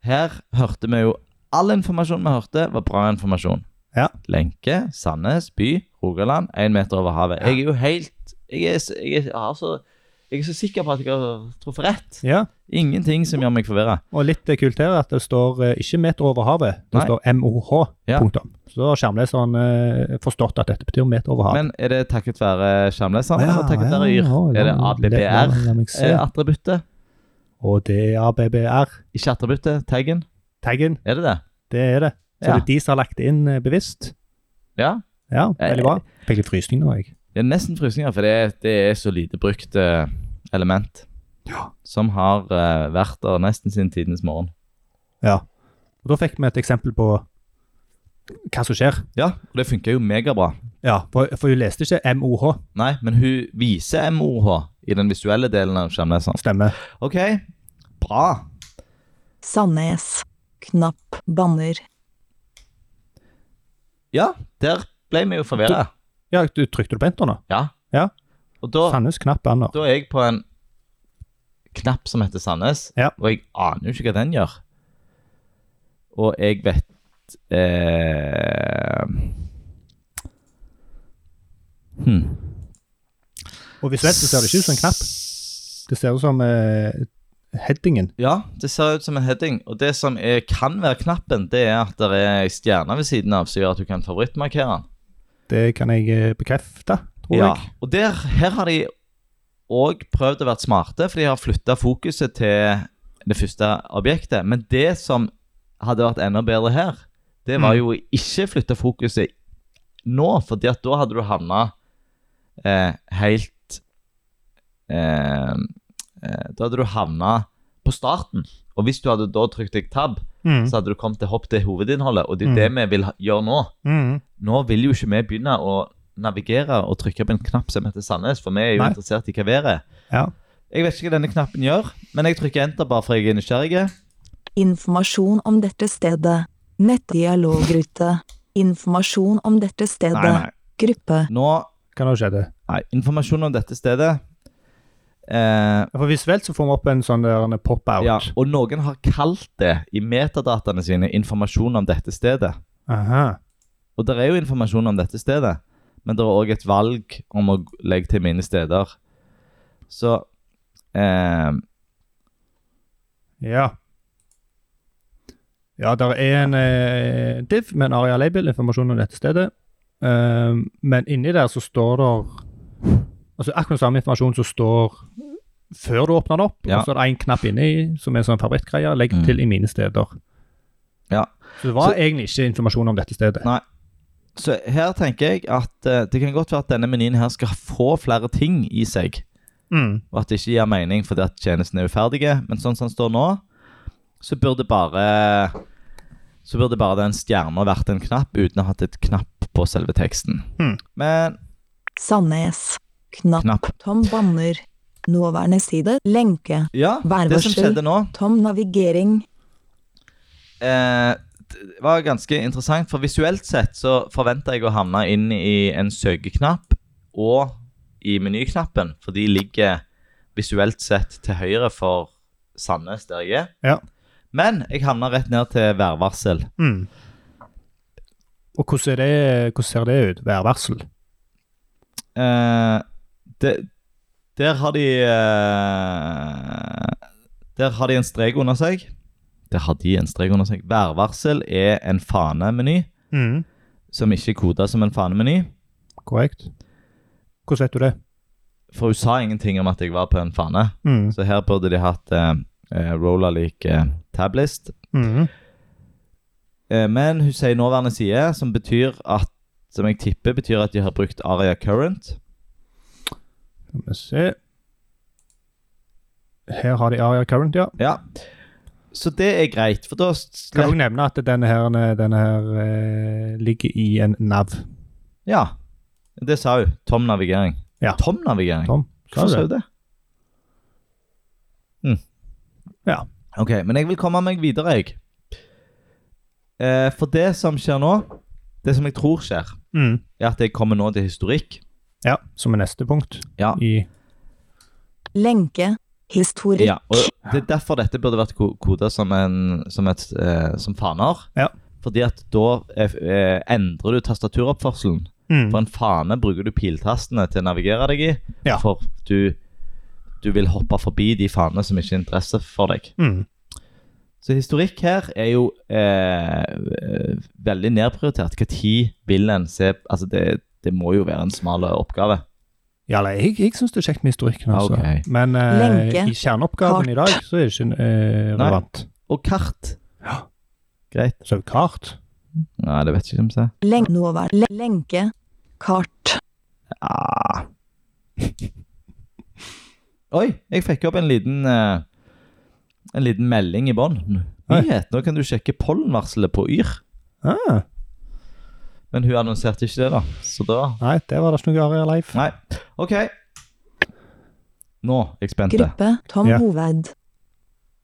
her hørte vi jo All informasjon vi hørte, var bra informasjon.
Ja.
Lenke, Sandnes, by, Rogaland, én meter over havet. Jeg er jo helt Jeg er, s- jeg er, jeg har så, jeg er så sikker på at jeg har truffet rett.
ja.
Ingenting som gjør meg forvirra.
Og litt eh, kult her er at det står eh, ikke meter over havet, det
Nei.
står MOH.
Ja.
Punktum. Så da har skjermleseren eh, forstått at dette betyr meter over havet.
Men er det takket være skjermleseren, eller takket
ja,
være Yr?
ja,
Er det
la- la- la- la meg se.
Eh, ABBR-attributtet?
Og det er ABBR.
Ikke attributtet, taggen?
Taggen,
Er det det?
det er det. Så
Ja.
det er de som har lagt det inn eh, bevisst.
Ja.
Ja, veldig bra. Fikk litt frysning nå, jeg.
Det er nesten frysninger, for det, er- det er så lite brukt eh, element. Som har eh, vært der nesten siden tidenes morgen.
Ja. Og da fikk vi et eksempel på hva som skjer.
Ja, og det funker jo megabra.
Ja, for, for hun leste ikke MOH,
Nei, men hun viser MOH i den visuelle delen av skjermleseren.
stemmer.
OK, bra.
Sandnes. Knapp. Banner.
Ja, der ble vi jo forvirra.
Ja, du trykte du på enter nå?
Ja.
Ja.
Og da,
Sandnes knapp banner.
da er jeg på en knapp som heter Sandnes,
Ja.
og jeg aner jo ikke hva den gjør. Og jeg vet eh... hmm.
Og visuelt så ser det ikke ut som en knapp. Det ser ut som eh, headingen.
Ja, det ser ut som en heading. Og det som er, kan være knappen, det er at det er ei stjerne ved siden av som gjør at du kan favorittmarkere den.
Det kan jeg eh, bekrefte, tror
Ja.
jeg.
Og der, her har de òg prøvd å være smarte, for de har flytta fokuset til det første objektet. Men det som hadde vært enda bedre her, det var
Mm.
jo å ikke flytte fokuset nå, fordi at da hadde du havna eh, helt eh, eh, Da hadde du havna på starten. Og hvis du hadde da trykt deg tab,
Mm.
så hadde du kommet til hopp til hovedinnholdet, og det er
Mm.
det vi vil ha- gjøre nå.
Mm.
Nå vil jo ikke vi begynne å navigere og trykke på en knapp som heter Sandnes, for vi er jo
Nei.
interessert i hva været er.
Ja.
Jeg vet ikke hva denne knappen gjør, men jeg trykker enter bare for jeg er nysgjerrig.
Informasjon om dette stedet. Nettdialogrute. Informasjon om dette stedet. Gruppe.
Nå,
Hva nå skjedde?
nei, informasjon om dette stedet. Eh,
Ja, For visuelt så får vi opp en sånn der en pop-out.
ja, og noen har kalt det i metadataene sine informasjon om dette stedet.
Aha.
Og det er jo informasjon om dette stedet, men det er òg et valg om å legge til mine steder. Så eh,
Ja. Ja, der er en eh, div med en aria label, informasjon om dette stedet. Ehm, men inni der så står det Altså akkurat samme informasjon som står før du åpner den opp.
Ja.
Og så er det en knapp inni som er en sånn favorittgreie. Legg
Mm.
til i mine steder.
Ja.
Så det var
Så-
egentlig ikke informasjon om dette stedet.
Nei. Så her tenker jeg at eh, det kan godt være at denne menyen her skal få flere ting i seg,
Mm.
og at det ikke gir mening fordi at tjenesten er uferdig, men sånn som den står nå, så burde bare så burde bare den stjerna vært en knapp uten å ha hatt et knapp på selve teksten.
Hmm.
Men
Sandnes. Knapp.
knapp
Tom banner. Nåværende side. Lenke.
Ja, det som
Værvarsel.
skjedde nå,
Tom navigering.
eh, det var ganske interessant. For visuelt sett så forventa jeg å havne inn i en søkeknapp og i menyknappen. For de ligger visuelt sett til høyre for Sandnes, der jeg er.
Ja.
Men jeg havna rett ned til værvarsel.
Mm. Og hvordan, er det, hvordan ser det ut? Værvarsel?
Eh, det, der har de eh, Der har de en strek under seg. Der har de en strek under seg. Værvarsel er en fanemeny.
Mm.
som ikke er koda som en fanemeny.
Korrekt. Hvordan vet du det?
For hun sa ingenting om at jeg var på en fane.
Mm.
Så her burde de hatt eh, eh, roller lik eh, tablist.
Mm.
Eh, men hun sier nåværende side, som betyr at som jeg tipper betyr at de har brukt Aria Current.
Skal vi se Her har de Aria Current, ja.
Ja. Så det er greit, for da
Kan
slipper
også nevne at denne her, denne her eh, ligger i en nav.
Ja. Det sa hun. Tom navigering.
Ja.
Tom navigering.
Tom, sa
Hvorfor
du
sa
det?
hun det? Mm.
Ja.
Ok, men jeg vil komme meg videre, jeg. Eh, for det som skjer nå, det som jeg tror skjer,
Mm.
er at jeg kommer nå til historikk.
Ja, som er neste punkt
Ja.
i
Lenke. Historikk.
ja og det er derfor dette burde vært koda som, en, som, et, eh, som faner.
Ja.
Fordi at da eh, eh, endrer du tastaturoppførselen.
mm.
For en fane bruker du piltastene til å navigere deg i.
Ja.
For du, du vil hoppe forbi de fanene som ikke er interesse for deg.
Mm.
Så historikk her er jo eh, eh, veldig nedprioritert. Når vil en se Altså, det, det må jo være en smal oppgave.
Ja, eller jeg, jeg syns det er kjekt med historikken, altså.
Ok.
Men eh,
Lenke.
i kjerneoppgaven i dag så er det ikke eh, relevant.
Og kart.
Ja.
Greit.
Så er det kart.
Nei, det vet jeg ikke om jeg ser.
Len nåvær le- lenke. Kart.
Ah. Oi, jeg fikk opp en liten eh, En liten melding i bånn.
Oi.
Nyhet. Nå kan du sjekke pollenvarselet på Yr.
Ah,
Men hun annonserte ikke det, da. Så da
nei, der var det ikke noe Aria Leif.
Nei. OK. Nå er jeg spent.
Gruppe. Tom
Ja.
Hoved.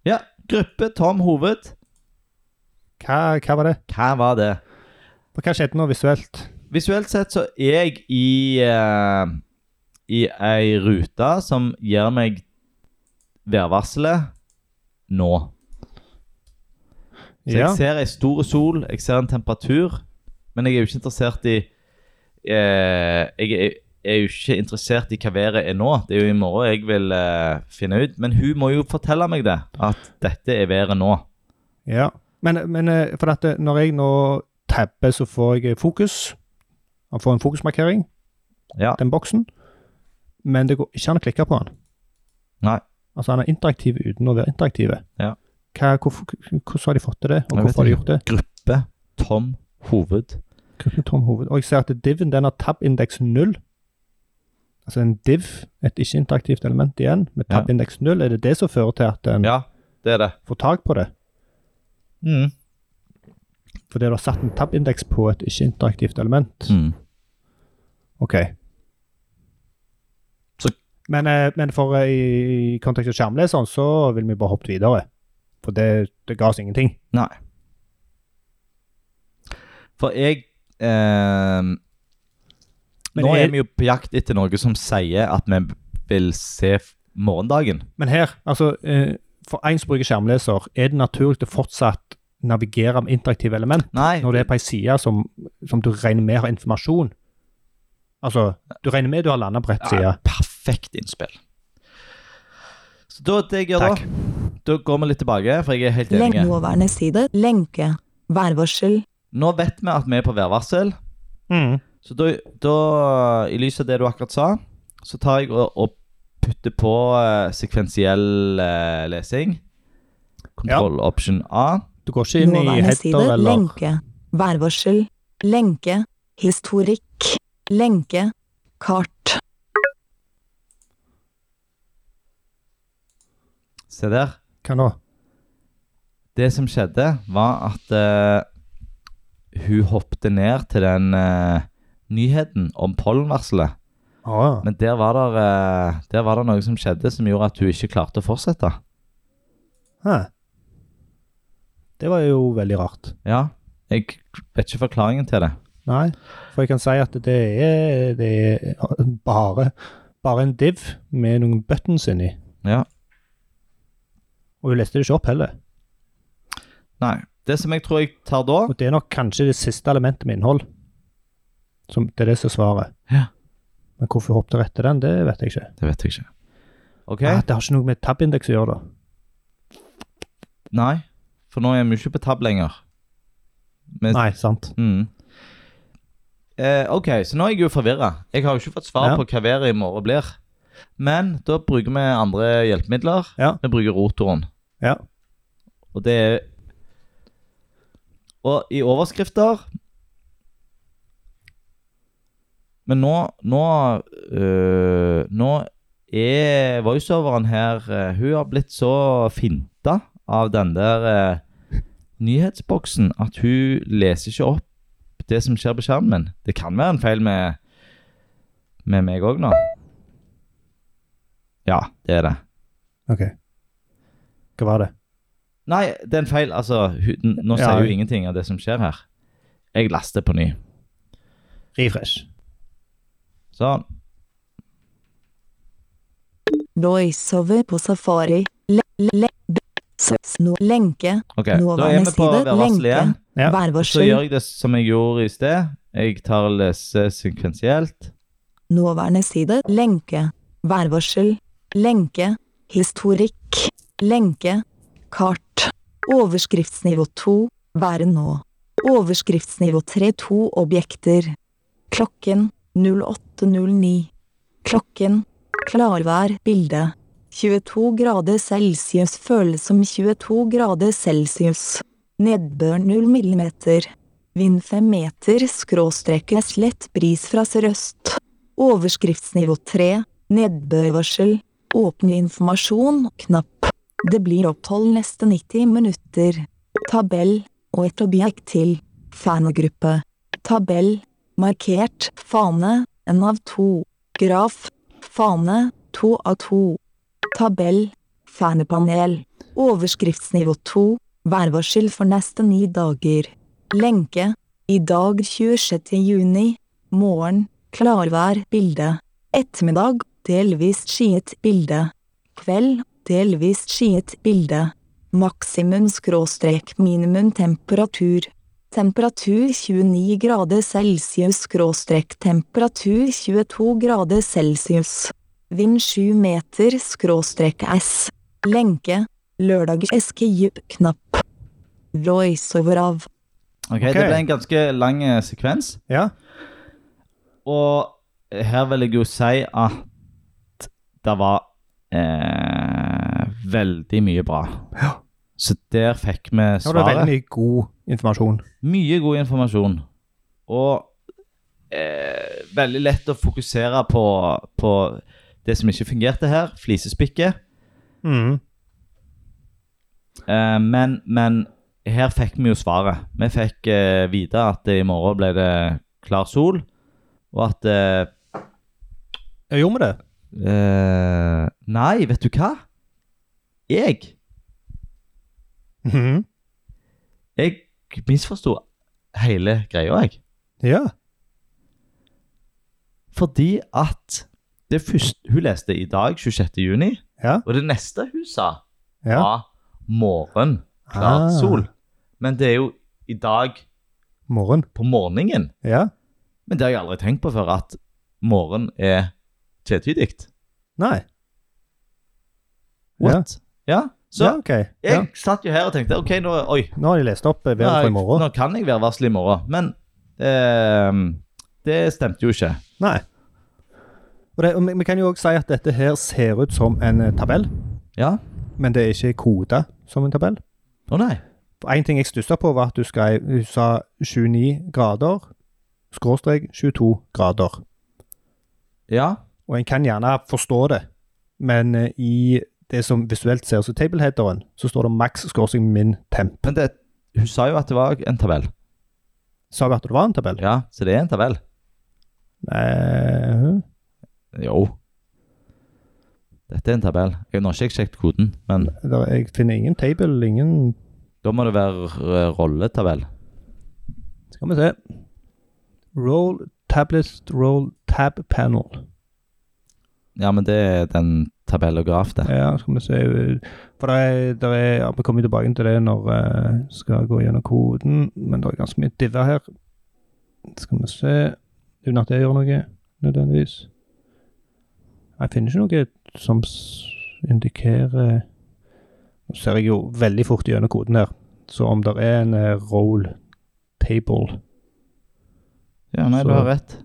Ja. Gruppe Tom Hoved.
Hva, hva var det?
Hva var det?
Hva skjedde nå visuelt?
Visuelt sett så er jeg i eh, I ei rute som gir meg værvarselet nå. Så
Ja.
jeg ser ei stor sol, jeg ser en temperatur, men jeg er jo ikke interessert i eh, Jeg er- er jo ikke interessert i hva været er nå. Det er jo i morgen jeg vil eh, finne ut. Men hun må jo fortelle meg det, at dette er været nå.
Ja, men, men eh, for at eh, når jeg nå tabber, så får jeg eh, fokus. Han får en fokusmarkering,
Ja.
den boksen. Men det går ikke an å klikke på han.
Nei.
Altså, han er interaktiv uten å være interaktiv.
Ja.
Hva, hvorfor, hvordan har de fått til det, og
Jeg vet
hvorfor har de
ikke.
gjort det?
Gruppe Tom Hoved.
Gruppen Tom Hoved. Og jeg ser at diven den har tab-indeks null. Altså en div, et ikke-interaktivt element igjen, med
Ja.
tab-indeks null. Er det det som fører til at en
Ja, det er det.
får tak på det?
Mm.
Fordi du har satt en tab-indeks på et ikke-interaktivt element?
Mm.
Ok.
Så-
men, eh, men for eh, i i kontekst av skjermleseren så vil vi bare hoppe videre. For det, det ga oss ingenting.
Nei. For jeg ehm,
Men
Nå
er-
er vi jo på jakt etter noe som sier at vi vil se f- morgendagen.
Men her, altså eh, For en som bruker skjermleser, er det naturlig å fortsatt navigere med interaktive element
Nei,
når du er på ei side som, som du regner med har informasjon. Altså, du regner med du har landa på rett side.
Ja, perfekt innspill. Så da, det jeg gjør
Takk.
da, da går vi litt tilbake, for jeg er helt
Lenk
enig.
nåværende side. Lenke. Værvarsel.
Nå vet vi at vi er på værvarsel.
Mm.
Så da, da i lys av det du akkurat sa, så tar jeg og, og putter på eh, sekvensiell eh, lesing. Kontroll option A.
Du går ikke inn i
Nåværende
header
side.
eller
Lenke. Værvarsel. Lenke. Historikk. Lenke. Kart.
Se der.
Hva nå?
Det som skjedde, var at eh, hun hoppet ned til den eh, nyheten om pollenvarselet.
Ah,
Men der var, der, eh, der var det noe som skjedde som gjorde at hun ikke klarte å fortsette.
hæ. Det var jo veldig rart.
Ja, jeg vet ikke forklaringen til det.
Nei, for jeg kan si at det er, det er eh, bare, bare en div med noen buttons inni.
Ja.
Og hun leste det ikke opp heller.
Nei. Det som jeg tror jeg tar da
Og det er nok kanskje det siste elementet med innhold. Som, det er det som er svaret.
Ja.
Men hvorfor hun hoppet rett til den, det vet jeg ikke.
Det vet jeg ikke. OK?
Ah, det har ikke noe med tab-indeks å gjøre, da.
Nei. For nå er vi ikke på tab lenger. Men-
Nei, sant.
Mm. Eh, OK, så nå er jeg jo forvirra. Jeg har jo ikke fått
Ja.
svar på hva været i morgen blir. Men da bruker vi andre hjelpemidler.
Ja.
Vi bruker rotoren.
Ja.
Og det er Og i overskrifter Men nå Nå, øh, nå er voiceoveren her øh, Hun har blitt så finta av den der øh, nyhetsboksen at hun leser ikke opp det som skjer på skjermen. Det kan være en feil med, med meg òg nå. Ja, det er det.
OK. Hva var det?
Nei, det er en feil. Altså, hun- n- nå
Ja.
sier hun ingenting av det som skjer her. Jeg laster på ny.
Refresh.
Sånn.
Voiceover på safari. Le, le, le, s- sno, lenke.
OK,
Nåværende
da er vi på
side,
værvarselet
lenke.
igjen.
Ja.
Så
Værvarsel.
gjør jeg det som jeg gjorde i sted. Jeg tar og leser sekvensielt.
Nåværende side. Lenke. Værvarsel. Lenke. Historikk. Lenke. Kart. Overskriftsnivå 2. Været nå. Overskriftsnivå 3-2 objekter. Klokken 08.09. Klokken. Klarvær. Bilde. 22 grader celsius føles som 22 grader celsius. Nedbør 0 millimeter. Vind 5 meter skråstreke slett bris fra sørøst. Overskriftsnivå 3. Nedbørvarsel. Åpne informasjon. Knapp. Det blir opphold neste 90 minutter. Tabell. Og et objekt til. Fangruppe. Tabell. Markert. Fane. Én av to. Graf. Fane. To av to. Tabell. Fanepanel. Overskriftsnivå 2. Værvarsel for neste ni dager. Lenke. I dag 26. juni. Morgen. Klarvær. Bilde. Ettermiddag. Delvis skyet bilde. Kveld. Delvis skyet bilde. Maksimum skråstrek minimum temperatur. Temperatur 29 grader celsius skråstrek temperatur 22 grader celsius. Vind 7 meter skråstrek S. Lenke. Lørdag eskejip knapp. Voiceover av.
Ok,
Ok.
Det ble en ganske lang eh, sekvens.
Ja.
Og her vil jeg jo si at det var eh, veldig mye bra.
Ja.
Så der fikk vi
Det var
svaret.
veldig god informasjon.
Mye god informasjon. Og eh, veldig lett å fokusere på, på det som ikke fungerte her, flisespikket.
Mm.
Eh, men, men her fikk vi jo svaret. Vi fikk eh, vite at i morgen ble det klar sol, og at eh,
Jeg gjorde vi det?
eh, Nei, vet du hva? Jeg
Mhm.
Jeg misforsto hele greia, jeg.
Ja.
Fordi at det første Hun leste i dag, 26. juni,
Ja.
og det neste hun sa,
Ja.
var morgen, klart
Ah.
sol. Men det er jo i dag
Morgen.
på morgenen.
Ja.
Men det har jeg aldri tenkt på før, at morgen er tvetydig.
Nei.
What? Ja. Så
ja, ok. Ja.
jeg satt jo her og tenkte OK, nå, oi,
Nå har de lest opp eh,
nå,
været
er
for
jeg,
i morgen.
nå kan jeg være varsel i morgen. Men ehm, det stemte jo ikke.
Nei. Og, det, og vi- vi kan jo òg si at dette her ser ut som en eh, tabell,
Ja?
men det er ikke koda som en tabell.
Å nei.
For En ting jeg stussa på, var at du skrev du sa 29 grader, skråstrek 22 grader.
Ja.
Og en kan gjerne forstå det, men eh, i det som visuelt ser ut som tableheaderen, så står det maks skråstrek min temp.
Men det, hun sa jo at det var en tabell.
Sa vi at det var en tabell?
Ja, så det er en tabell.
Nei,
Jo. Dette er en tabell. Jeg har nå ikke sjekket koden, men
der- eh, jeg finner ingen table, ingen
da må det være eh, rolletabell.
Skal vi se. Roll tablet, roll tab panel.
Ja, men det er den tabellograf, det.
Ja, skal vi se. For det er, det er, ja, vi kommer tilbake til det når jeg skal gå gjennom koden, men det er ganske mye diver her. Skal vi se Uten at jeg gjør noe, nødvendigvis. Jeg finner ikke noe som s- indikerer Nå ser jeg jo veldig fort gjennom koden her, så om det er en eh, roll table
Ja, nei,
Så-
du har rett.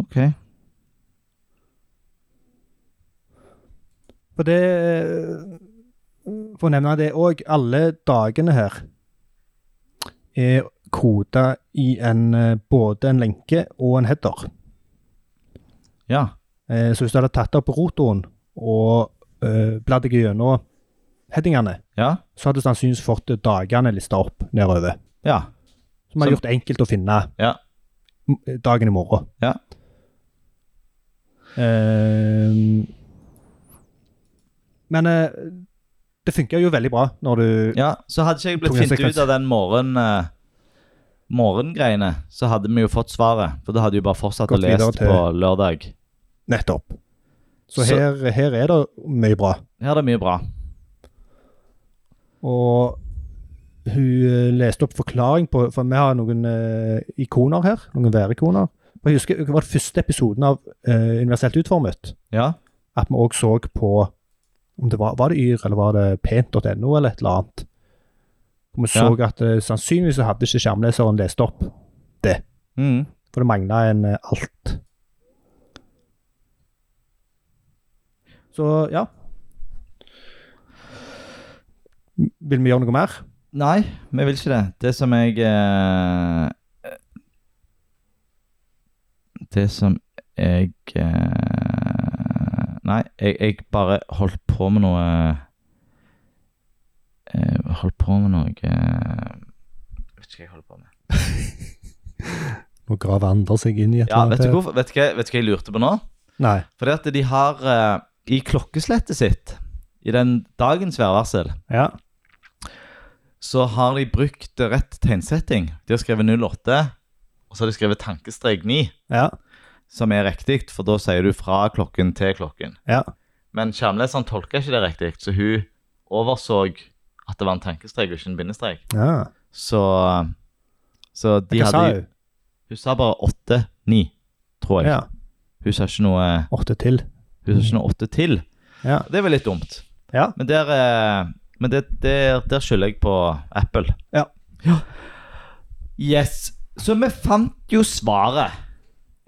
OK.
For det For å nevne det òg, alle dagene her er koda i en, eh, både en lenke og en header.
Ja.
Eh, Så hvis du hadde tatt opp rotoren og eh, bladd deg gjennom headingene,
Ja.
så hadde du sannsynligvis fått dagene lista opp nedover.
Ja.
Som hadde
Som-
gjort det enkelt å finne
Ja.
m- dagen i morgen.
Ja.
Ehm, men eh, det funker jo veldig bra når du
ja. Så hadde ikke jeg blitt
Tunge
funnet
sekvens.
ut av den morgen, eh, morgengreiene, så hadde vi jo fått svaret. For da hadde vi bare fortsatt
Gått
å lese
videre til-
på lørdag.
Nettopp. Så,
Så-
her, her er det mye bra.
Her er det mye bra.
Og hun eh, leste opp forklaring på For vi har noen eh, ikoner her. Noen værikoner. Og Jeg husker det var den første episoden av eh, Universelt utformet.
Ja.
At vi òg så på om det var, var det Yr eller var det pent.no eller et eller annet. Og vi så at eh, sannsynligvis så hadde ikke skjermleseren lest opp,
Mm.
for det mangla en eh, alt. Så ja. M- Vil vi gjøre noe mer?
Nei, vi vil ikke det. Det som jeg eh, Det som jeg eh, Nei, jeg, jeg bare holdt på med noe Jeg holdt på med noe eh, Jeg vet ikke hva jeg holder på med.
Nå graver Anders seg inn i et
Ja, vet du, hvorfor, vet, du hva, vet du hva jeg lurte på nå?
Nei.
Fordi at de har eh, i klokkeslettet sitt, i den dagens værvarsel,
Ja.
så har de brukt rett tegnsetting. De har skrevet 08, og så har de skrevet tankestrek 9,
Ja.
som er riktig, for da sier du fra klokken til klokken.
Ja.
Men skjermleseren tolka ikke det riktig, så hun overså at det var en tankestrek og ikke en bindestrek.
ja.
Så, så de
Hva sa
hadde
hun?
Hun sa bare 8, 9, tror jeg.
Ja.
Hun sa ikke noe
Åtte til.
Hun sa ikke noe 8 til.
Ja.
Det var litt dumt.
Ja.
Men der, eh, men det, der, der skylder jeg på Apple.
Ja.
Yes. Så vi fant jo svaret.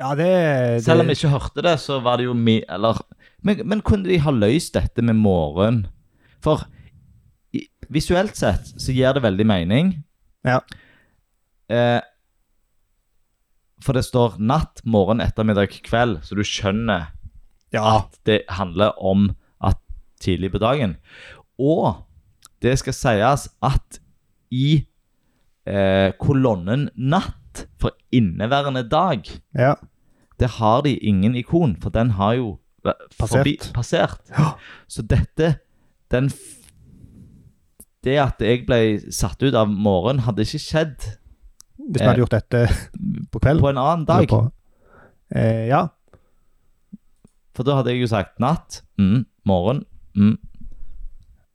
Ja, det, det
Selv om vi ikke hørte det, så var det jo mi... Eller Men, men kunne de ha løst dette med morgen? For i, visuelt sett så gir det veldig mening.
Ja.
Eh, for det står natt, morgen, ettermiddag, kveld, så du skjønner
Ja.
det handler om at tidlig på dagen. Og det skal sies at i eh, kolonnen natt for inneværende dag,
ja.
det har de ingen ikon, for den har jo væ-
Passert.
passert.
Ja.
Så dette den f Det at jeg ble satt ut av morgen, hadde ikke skjedd
Hvis vi hadde gjort dette på kveld.
Eh, på en annen
eller
dag.
på- Eh, ja.
For da hadde jeg jo sagt natt, mm, morgen, mm.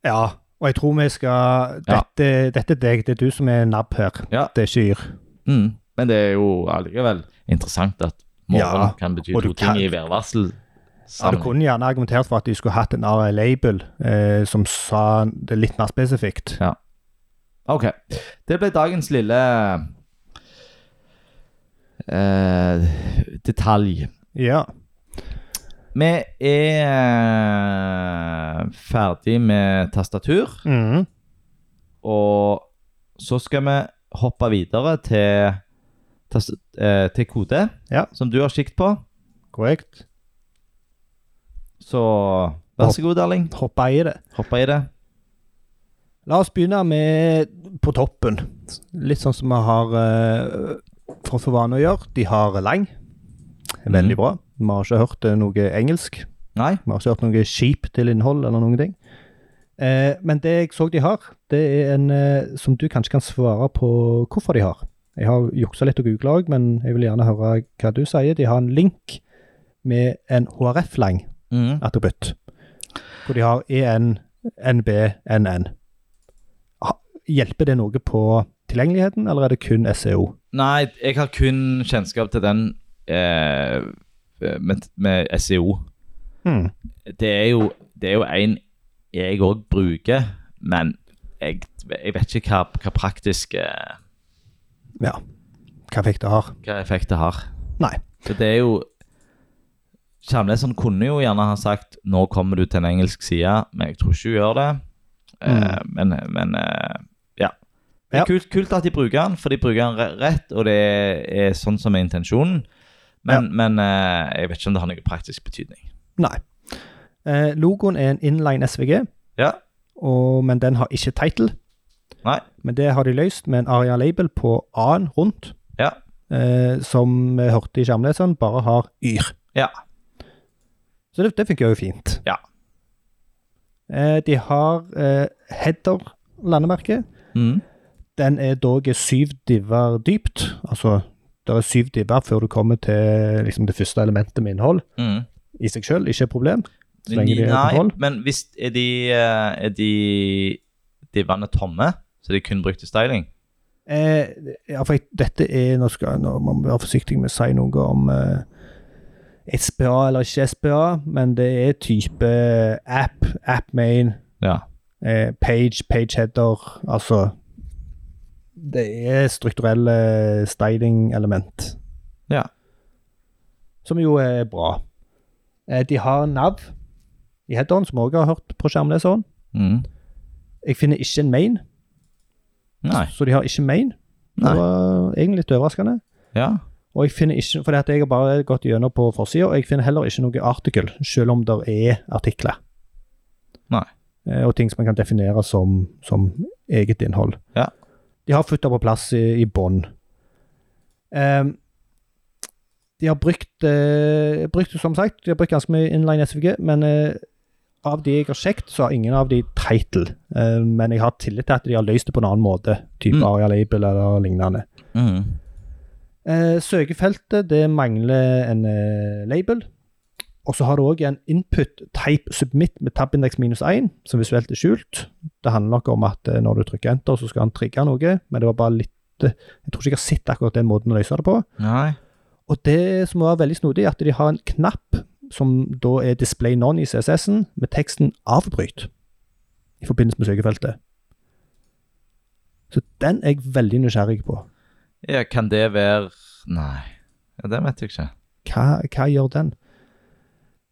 Ja. Og jeg tror vi skal
Ja.
Dette, dette er deg. Det er du som er nabb her.
Ja.
Det er ikke Yr.
Mm. Men det er jo allikevel interessant at morgen
Ja,
kan bety
og
to
du
ting
kan-
i værvarsel
Ja, du
sammen.
kunne gjerne argumentert for at de skulle hatt en RA-label eh, som sa det litt mer spesifikt.
Ok. Det ble dagens lille eh, detalj.
Ja.
Vi eh, er ferdig med tastatur,
Mhm.
og Så skal vi hoppe videre til, tas- eh, til kode,
Ja.
som du har sikt på.
Korrekt.
Så vær så god, Erling.
Hoppa i det.
Hoppe i det.
La oss begynne med på toppen. Litt sånn som vi har eh, fått for vane å gjøre. De har lang. Veldig
Mhm.
bra. Vi har ikke hørt eh, noe engelsk.
Nei?
Vi har ikke hørt noe skip til innhold eller noen ting. Eh, men det jeg så de har, det er en eh, som du kanskje kan svare på hvorfor de har. Jeg har juksa litt og googla òg, men jeg vil gjerne høre hva du sier. De har en link med en HRF-lang Mm.
Mhm.
attributt, hvor de har E EN, NB, NN. Ha- Hjelper det noe på tilgjengeligheten, eller er det kun E SEO?
Nei, jeg har kun kjennskap til den eh, med, med SEO.
Hmm.
Det er jo, det er jo en jeg òg bruker, men jeg, jeg vet ikke hva, hva praktisk eh,
Ja. Hva fikk det har?
hva effekt det har.
Nei.
Så det er jo Kjamleseren kunne jo gjerne ha sagt 'nå kommer du til en engelsk side', men jeg tror ikke hun gjør det. Eh, men men eh, ja. Det er
Mm. Ja.
Kult, kult at de bruker den, for de bruker den re- rett, og det er sånn som er intensjonen. Men, men eh, jeg vet ikke om det har noen praktisk betydning.
Nei. Eh, logoen er en inline SVG,
Ja,
og, men den har ikke title.
Nei.
Men det har de løst med en aria-label på A-en rundt,
ja,
eh, som vi hørte i skjermleseren, bare har yr.
ja.
Så det, det funker jo fint.
Ja.
Eh, de har eh, header-landemerket.
Mm.
Den er dog syv diver dypt. Altså, det er syv diver før du kommer til liksom, det første elementet med innhold.
Mm.
I seg selv, ikke et problem. Så lenge de har kontroll.
men hvis er de, eh, er de divene tomme, så de kun brukte styling?
Eh, ja, for jeg, dette er Nå skal nå, må man være forsiktig med å si noe om eh, SPA eller ikke SPA, men det er type app, app main,
Ja.
eh, page, page header, altså Det er strukturelle styling-element,
ja.
som jo er bra. Eh, de har nav i headeren, som også har hørt på skjermleseren.
Mm.
Jeg finner ikke en main,
Nei.
så de har ikke main. Det
Nei.
var egentlig litt overraskende.
Ja.
Og jeg finner ikke, fordi at jeg har bare gått gjennom på forsida, og jeg finner heller ikke noe artikkel, selv om det er artikler.
Nei.
Eh, Og ting som man kan definere som, som eget innhold.
Ja.
De har futta på plass i, i bånn. Ehm, de har brukt, eh, brukt, som sagt, de har brukt ganske mye inline SVG, men eh, av de jeg har sjekket, så har ingen av de title. Eh, men jeg har tillit til at de har løst det på en annen måte, type
Mm.
Aria Label eller lignende.
Mm.
Eh, søkefeltet det mangler en eh, label. Og så har du òg en input type submit med tabindex minus 1, som visuelt er skjult. Det handler nok om at eh, når du trykker enter, så skal han trigge noe, men det var bare litt eh, Jeg tror ikke jeg har sett akkurat den måten å løse det på.
Nei.
Og det som var veldig snodig, er at de har en knapp som da er display none i CSS-en, med teksten 'avbryt' i forbindelse med søkefeltet. Så den er jeg veldig nysgjerrig på.
Ja, kan det være Nei, ja, det vet jeg ikke.
Hva, hva gjør den?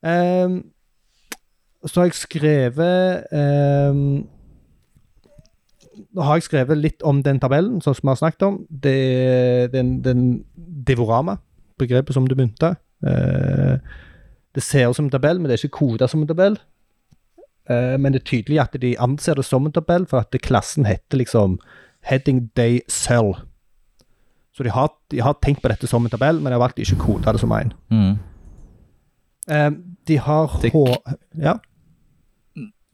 Ehm, så har jeg skrevet ehm, Nå har jeg skrevet litt om den tabellen sånn som vi har snakket om. Det er den, den divorama, begrepet som du begynte. Eh, det ser ut som en tabell, men det er ikke kodet som en tabell. Eh, men det er tydelig at de anser det som en tabell, for at klassen heter liksom heading day cell. Så de har, de har tenkt på dette som en tabell, men de har valgt ikke å kode det som en.
Hmm.
Eh, de har
Det-
H... Ja.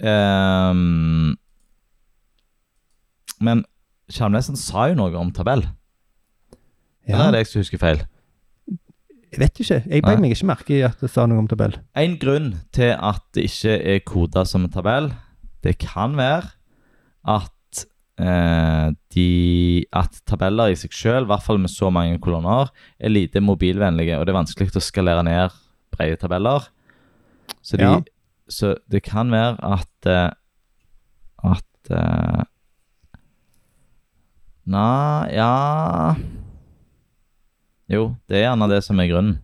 Ehm, men Skjermlesen sa jo noe om tabell. Eller
ja.
er det jeg som husker feil?
Jeg vet ikke. Jeg
Nei.
beit meg ikke merke i at det sa noe om tabell.
En grunn til at det ikke er koda som en tabell, det kan være at eh, de, at tabeller i seg selv, i hvert fall med så mange kolonner, er lite mobilvennlige, og det er vanskelig å skalere ned brede tabeller. Så, de,
Ja.
så det kan være at eh, at eh, Nei, ja Jo, det er gjerne det som er grunnen.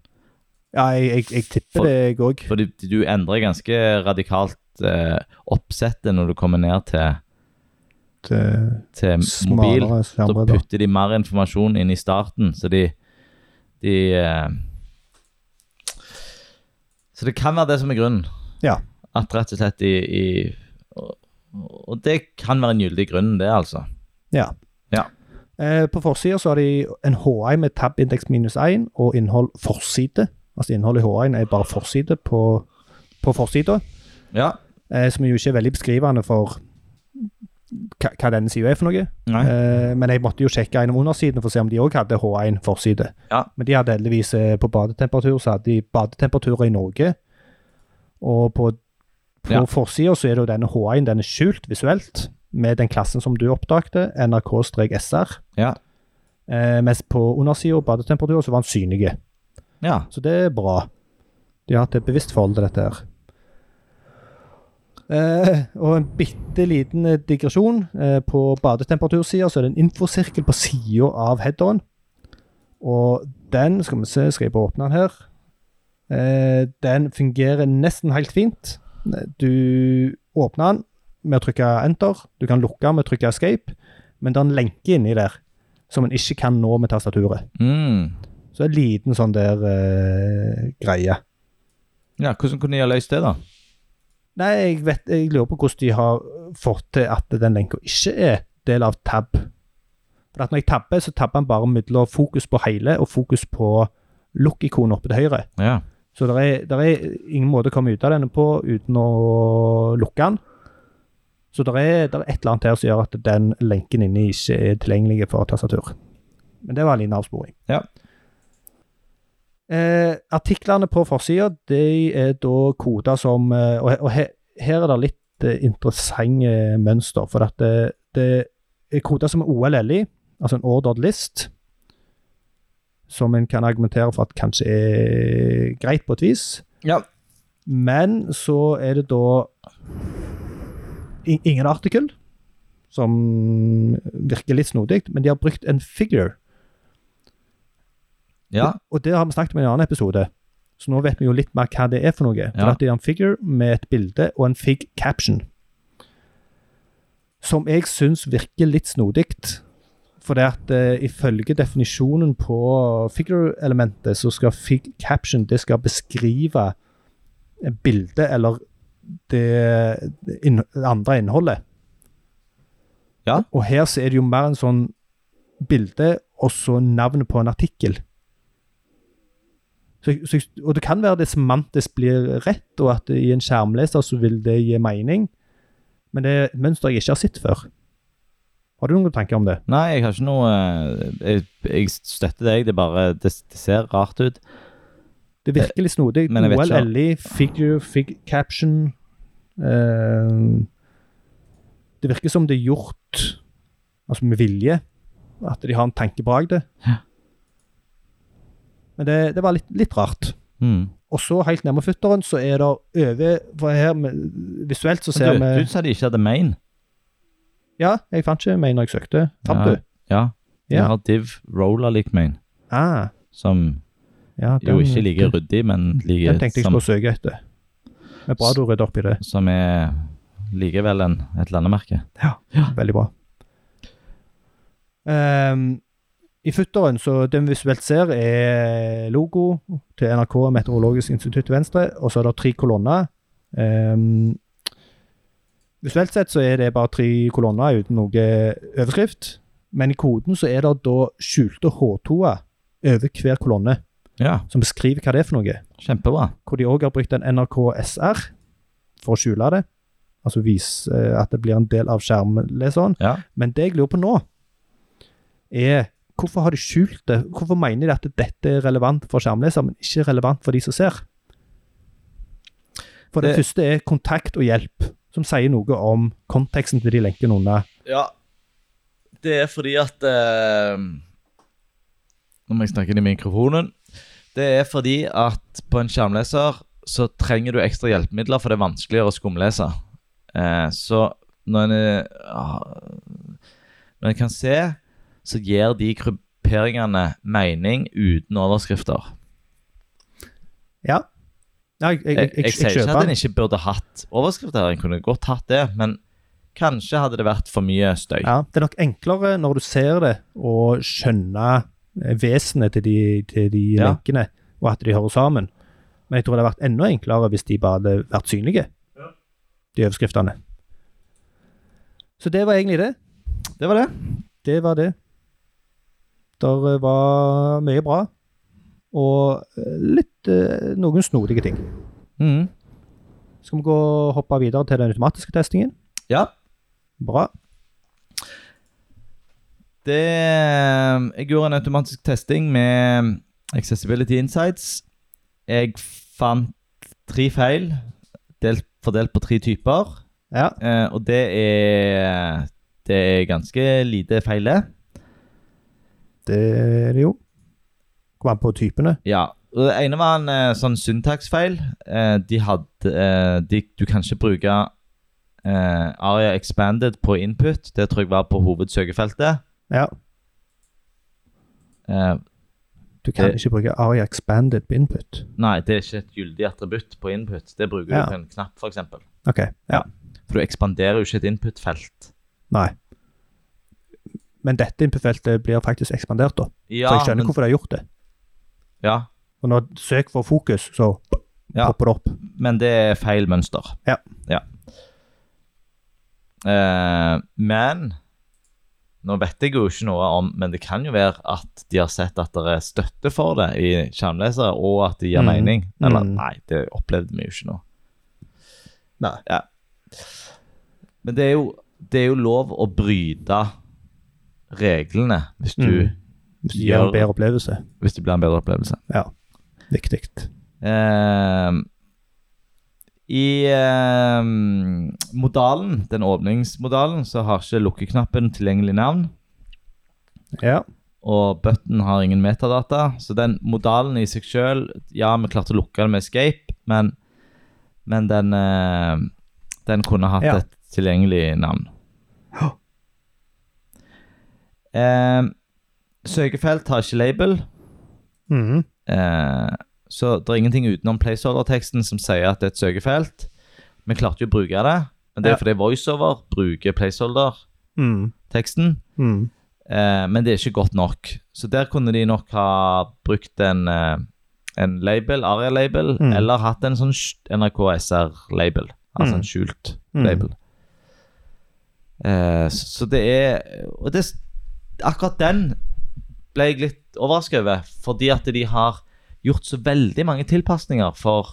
Ja, jeg, jeg, jeg tipper
For-
det, jeg òg.
Fordi du endrer ganske radikalt eh, oppsettet når du kommer ned til
litt eh,
til mobil.
smalere
Da
skjermer. Da.
putter de mer informasjon inn i starten, så de, de eh, Så det kan være det som er grunnen.
Ja.
At rett og slett i, i og, og det kan være en gyldig grunn, det, altså.
Ja.
Ja.
Eh, på forsida så har de en HI med tab-indeks minus 1 og innhold forside. Altså innholdet i HI-en er bare forside på, på forsida,
Ja.
eh, som jo ikke er veldig beskrivende for hva, hva denne sida er for noe.
Nei.
Eh, men jeg måtte jo sjekke en av undersidene for å se om de òg hadde H1 forside.
Ja.
Men de hadde heldigvis eh, på badetemperatur, så hadde de badetemperaturer i Norge. Og på, på
Ja.
forsida så er det jo denne H1, den er skjult visuelt med den klassen som du oppdagte, NRK-SR.
Ja.
Eh, mens på undersida, badetemperaturer, så var den synlig.
ja.
Så det er bra. De har hatt et bevisst forhold til dette her. Eh, og en bitte liten eh, digresjon. Eh, på badetemperatursida så er det en infosirkel på sida av headeren. Og den skal vi se, skal jeg bare åpne den her. Eh, den fungerer nesten helt fint. Eh, Du åpner den med å trykke enter. Du kan lukke den med å trykke escape. Men det er en lenke inni der som en ikke kan nå med tastaturet.
Mm.
Så en liten sånn der eh, greie.
ja. Hvordan kunne de ha løst det, da?
Nei, jeg, vet, jeg lurer på hvordan de har fått til at den lenka ikke er del av tab. For at når jeg tabber, så tabber han bare mellom fokus på hele og fokus på lukk-ikonet oppe til høyre.
Ja.
Så det er, der er ingen måte å komme ut av denne på uten å lukke den. Så det er, der er et eller annet her som gjør at den lenken inni ikke er tilgjengelig for tastatur. Men det var en liten avsporing.
Ja.
Eh, artiklene på forsida, de er da koder som eh, Og, he- og he, her er det litt eh, interessante mønster, for at det, det er koder som er OLLI, altså en ordered list som en kan argumentere for at kanskje er greit på et vis.
Ja.
Men så er det da i- ingen artikkel, som virker litt snodig, men de har brukt en figure.
ja.
Og det har vi snakket om i en annen episode, så nå vet vi jo litt mer hva det er for noe. For
Ja.
at det er en figure med et bilde og en fig caption. Som jeg syns virker litt snodig. For det at eh, ifølge definisjonen på figure-elementet, så skal fig caption det skal beskrive bildet eller det, det inn, andre innholdet.
Ja.
Og her så er det jo mer en sånn bilde og så navnet på en artikkel. Så, så, og det kan være det semantisk blir rett, og at i en skjermleser så vil det gi mening. Men det er et mønster jeg ikke har sett før. Har du noen tanker om det?
Nei, jeg har ikke noe eh, Jeg, jeg støtter deg, det er bare det, det ser rart ut.
Det virker litt snodig.
Eh, Men jeg vet ikke.
OLLI, figure, fig caption eh, Det virker som det er gjort altså med vilje. At de har en tanke bak det.
Ja.
Men det, det var litt, litt rart.
Mm.
Og så, helt nærme futteren, så er det over for her, med- Visuelt så
Du,
ser vi
du sa de ikke hadde main.
Ja, jeg fant ikke meg når jeg søkte. Fant
Ja.
du?
Ja. De
Ja.
har div roller lik main,
Ah,
som
ja,
jo ikke like ryddig, men
Den
like
tenkte jeg
som,
skulle søke etter. Men bra du rydder opp i det.
som er likevel en, et landemerke. Ah.
Veldig bra. Ehm, I futteren, så det vi visuelt ser, er logo til NRK Meteorologisk institutt til venstre, og så er det tre kolonner. Ehm, visuelt sett så er det bare tre kolonner uten noe overskrift, men i koden så er det da skjulte H2-er over hver kolonne,
Ja,
som beskriver hva det er for noe
kjempebra.
hvor de òg har brukt en NRK SR for å skjule det. Altså vise eh, at det blir en del av skjermleseren.
Ja.
Men det jeg lurer på nå, er hvorfor har de skjult det? Hvorfor mener de at dette er relevant for skjermleser, men ikke relevant for de som ser? For det,
Det-
første er kontakt og hjelp, som sier noe om konteksten til de lenkene under.
Ja, det er fordi at eh, Nå må jeg snakke inn i mikrofonen. Det er fordi at på en skjermleser så trenger du ekstra hjelpemidler, for det er vanskeligere å skumlese. Eh, så når en er- ah, Når en kan se, så gir de grupperingene mening uten overskrifter.
Ja. Nei, jeg, jeg,
Jeg,
jeg, jeg,
sier ikke
kjøper
at en
den.
ikke burde hatt overskrifter, en kunne godt hatt det, men Kanskje hadde det vært for mye støy.
Ja, det er nok enklere når du ser det, å skjønne eh, vesenet til de, til de
Ja.
lenkene, og at de hører sammen. Men jeg tror det hadde vært enda enklere hvis de bare hadde vært synlige, de overskriftene. Så det var egentlig det.
Det var det.
Det var det. Der eh, var mye bra, og eh, litt eh, noen snodige ting. Mm.
Mhm.
Skal vi gå og hoppe videre til den automatiske testingen?
Ja.
Bra.
Det eh, Jeg gjorde en automatisk testing med Accessibility Insights. Jeg fant tre feil, delt, fordelt på tre typer.
Ja.
Eh, og det er Det er ganske lite feil, det.
Det er det jo. Kommer an på typene.
Ja. Og det ene var en eh, sånn syntaksfeil. Eh, de hadde eh, de, Du kan ikke bruke eh, Aria Expanded på input. Det tror jeg var på hovedsøkefeltet.
Ja.
Eh,
Du kan
Eh.
ikke bruke Aria Expanded på input.
nei, det er ikke et gyldig attributt på input. Det bruker
Ja.
du på en knapp, f.eks. For, eksempel.
OK. Ja.
for du ekspanderer jo ikke et input-felt.
Nei. Men dette input-feltet blir faktisk ekspandert, da.
Ja,
så jeg skjønner
men-
hvorfor de har gjort det.
ja,
Og når søk for fokus, så
Ja.
popper det opp.
men det er feil mønster.
Ja.
Eh, men Nå vet jeg jo ikke noe om Men det kan jo være at de har sett at det er støtte for det i skjermlesere, og at det gir
Mm.
mening. Eller
Mm.
nei, det opplevde vi jo ikke nå.
Nei.
Ja. Men det er, jo, det er jo lov å bryte reglene hvis du,
Mm. Hvis det gir
Gjør-
en bedre opplevelse.
hvis det blir en bedre opplevelse.
Ja. Viktig.
Ehm, I ehm, modalen, den åpningsmodalen, så har ikke lukkeknappen tilgjengelig navn.
Ja.
Og button har ingen metadata. Så den modalen i seg sjøl Ja, vi klarte å lukke den med escape, men, men den, ehm, den kunne hatt
Ja.
et tilgjengelig navn.
Ja.
Ehm, søkefelt har ikke label.
Mhm.
Eh, så det er ingenting utenom placeholder-teksten som sier at det er et søkefelt. Vi klarte jo å bruke det, men det er
Ja.
fordi voiceover bruker placeholder-teksten.
Mhm. Mhm.
Eh, men det er ikke godt nok. Så der kunne de nok ha brukt en, eh, en label, aria-label,
Mm.
eller hatt en sånn sk- NRK SR-label. Altså
Mm.
en skjult
Mm.
label. Eh, så, så det er Og det, s- akkurat den ble jeg litt overrasket over, fordi at de har gjort så veldig mange tilpasninger for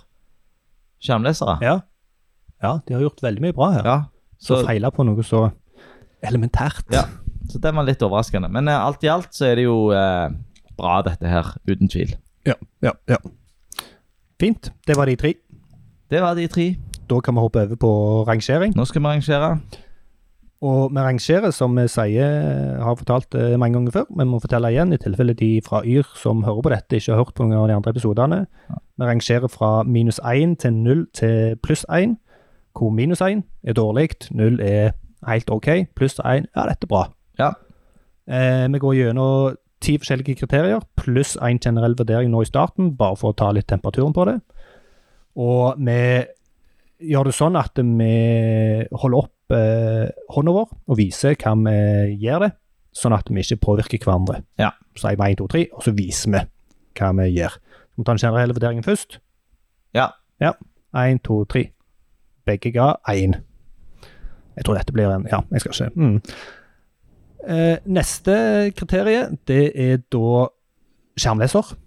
skjermlesere.
Ja. ja. De har gjort veldig mye bra her.
Ja,
Så
så,
feila på noe så elementært.
Ja. så den var litt overraskende. Men eh, alt i alt så er det jo eh, bra, dette her. Uten tvil.
ja. ja. Fint. Det var de tre.
Det var de tre.
Da kan vi hoppe over på rangering.
Nå skal vi arrangere.
Og vi rangerer, som vi sier, har fortalt eh, mange ganger før, men må fortelle igjen i tilfelle de fra Yr som hører på dette, ikke har hørt på noen av de andre episodene. Vi rangerer fra minus 1 til 0 til pluss 1, hvor minus 1 er dårlig, 0 er helt ok, pluss 1 ja, dette er bra.
Ja.
Eh, vi går gjennom ti forskjellige kriterier, pluss en generell vurdering nå i starten, bare for å ta litt temperaturen på det. Og vi gjør det sånn at vi holder opp eh, hånda vår og viser hva vi gjør det, sånn at vi ikke påvirker hverandre.
Ja.
Så jeg med 1, 2, 3, og så viser vi hva vi gjør. Vi må ta den generelle vurderingen først.
Ja.
Ja. 1, 2, 3. Begge ga 1. Jeg tror dette blir en Ja, jeg skal ikke mm. Eh, neste kriterie, det er da skjermleser.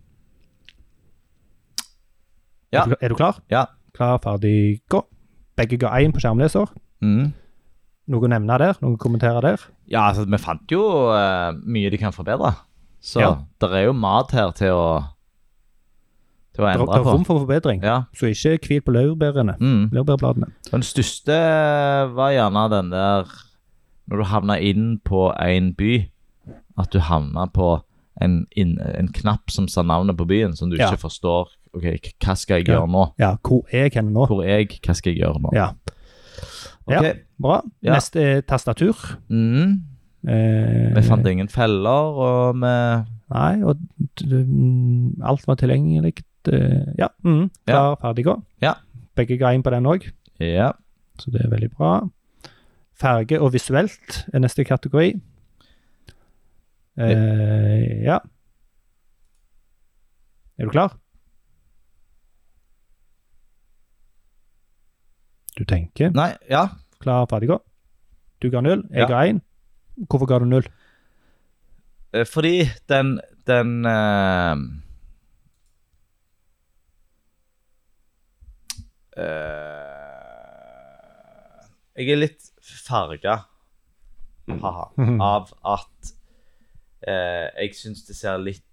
Ja.
Er, du, er du klar?
Ja.
Klar, ferdig, gå. Begge ga én på skjermleser.
Mm.
Noe å nevne der? Noe å kommentere der?
Ja, altså, vi fant jo eh, mye de kan forbedre. Så
Ja.
det er jo mat her til å Til å
Det er
endre
det er
på.
rom for forbedring,
Ja.
så ikke hvil på laurbærene.
Mm.
Laurbærbladene.
Og Den største var gjerne den der Når du havna inn på en by, at du havna på en, inn, en knapp som sa navnet på byen, som du
Ja.
ikke forstår. OK, k- hva skal jeg
Ja.
gjøre nå?
Ja, hvor er jeg hen nå?
Hvor er jeg? Hva skal jeg gjøre nå?
Ja.
Ok.
Ja. Bra.
Ja.
Neste er tastatur.
Mm.
Eh,
Vi fant ingen feller, og vi
Nei, og d- d- mm, alt var tilgjengelig. eh, Ja. Mm, klar, ferdig, gå.
Ja.
Begge ga inn på den òg,
Ja.
så det er veldig bra. Farge og visuelt er neste kategori. Eh, ja. Er du klar? Du tenker.
Nei, ja.
Klar, ferdig, gå. Du ga null, jeg
Ja.
ga én. Hvorfor ga du null?
Eh, Fordi den Den eh, eh, Jeg er litt farga haha, av at eh, jeg syns det ser litt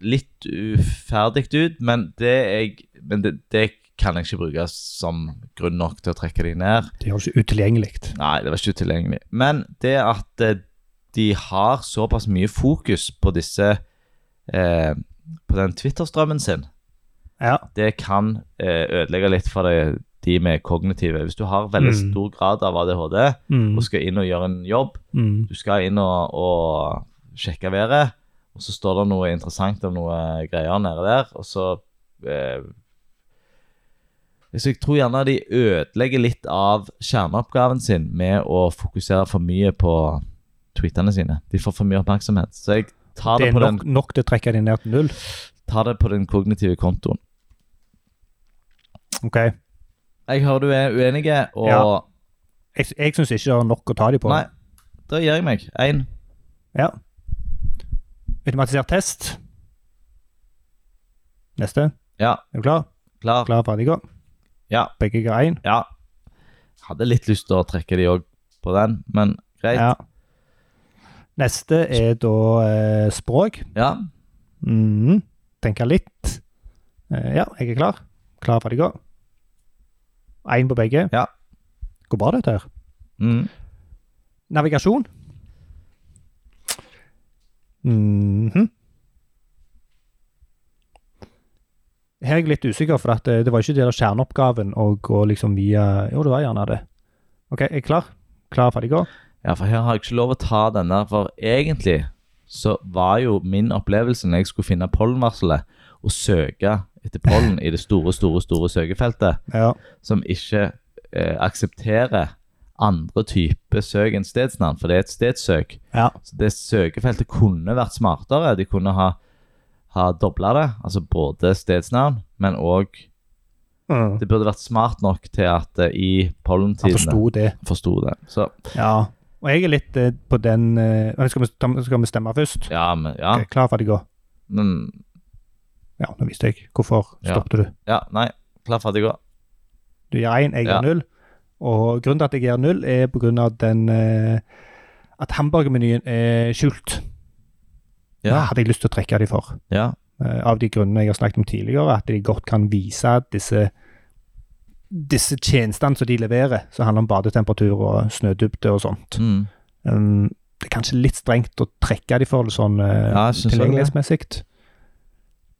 Litt uferdig ut, men det, jeg, men det, det kan jeg ikke bruke som grunn nok til å trekke de ned.
Det gjør det ikke utilgjengelig.
Nei, det var ikke tilgjengelig. Men det at eh, de har såpass mye fokus på disse eh, På den Twitter-strømmen sin,
Ja.
det kan eh, ødelegge litt for de, de med kognitive. Hvis du har veldig
Mm.
stor grad av ADHD
Mm.
og skal inn og gjøre en jobb,
Mm.
du skal inn og, og sjekke været, og så står det noe interessant om noe greier nede der, og så eh, Så jeg tror gjerne de ødelegger litt av kjerneoppgaven sin med å fokusere for mye på tweetene sine. De får for mye oppmerksomhet. Så jeg tar
Det
det,
er
på,
nok,
den,
nok til å trekke de ned til null.
tar det på den kognitive kontoen.
Ok.
Jeg hører du er uenige, og
Ja. Jeg, jeg syns ikke det er nok å ta de på.
Nei, da gir jeg meg. Én.
Ja. Automatisert test. Neste.
Ja,
Er du klar?
klar.
Klar, ferdig, gå.
Ja.
Begge ga én.
Ja. Hadde litt lyst til å trekke de òg på den, men greit.
Ja. Neste er da eh, språk.
Ja.
Mhm. Tenke litt. Eh, ja, jeg er klar. Klar, ferdig, gå. Én på begge.
Ja.
Går bra, dette her.
Mm.
Navigasjon. Mhm. Her er jeg litt usikker, for at eh, det var ikke del av kjerneoppgaven å gå liksom via Jo, det var gjerne det. OK, jeg er klar. Klar, ferdig, gå.
ja, for her har jeg ikke lov å ta den der, for egentlig så var jo min opplevelse når jeg skulle finne pollenvarselet, å søke etter pollen i det store, store, store søkefeltet,
Ja.
som ikke eh, aksepterer andre type søk enn stedsnavn, for det er et stedsøk.
ja.
Så det søkefeltet kunne vært smartere. De kunne ha, ha dobla det, altså både stedsnavn, men òg
Mm.
Det burde vært smart nok til at eh, i
Han
pollentidene
forsto det.
forsto det. Så
Ja. Og jeg er litt eh, på den eh, men skal, vi, ta- skal vi stemme først?
ja, men ja.
Ok, klar, ferdig, gå.
Men,
Ja, nå visste jeg. Hvorfor
Ja.
stoppet du?
ja nei. Klar, ferdig, gå.
Du gir én, jeg gir
Ja.
null. Og grunnen til at jeg gir null, er på grunn av den eh, At hamburgermenyen er skjult. Det
Ja.
hadde jeg lyst til å trekke de for.
ja.
Eh, av de grunnene jeg har snakket om tidligere, at de godt kan vise disse disse tjenestene som de leverer, som handler om badetemperatur og snødybde og sånt.
Mm.
Um, det er kanskje litt strengt å trekke de for det sånn eh,
Ja, jeg syns også det.
tilgjengelighetsmessig.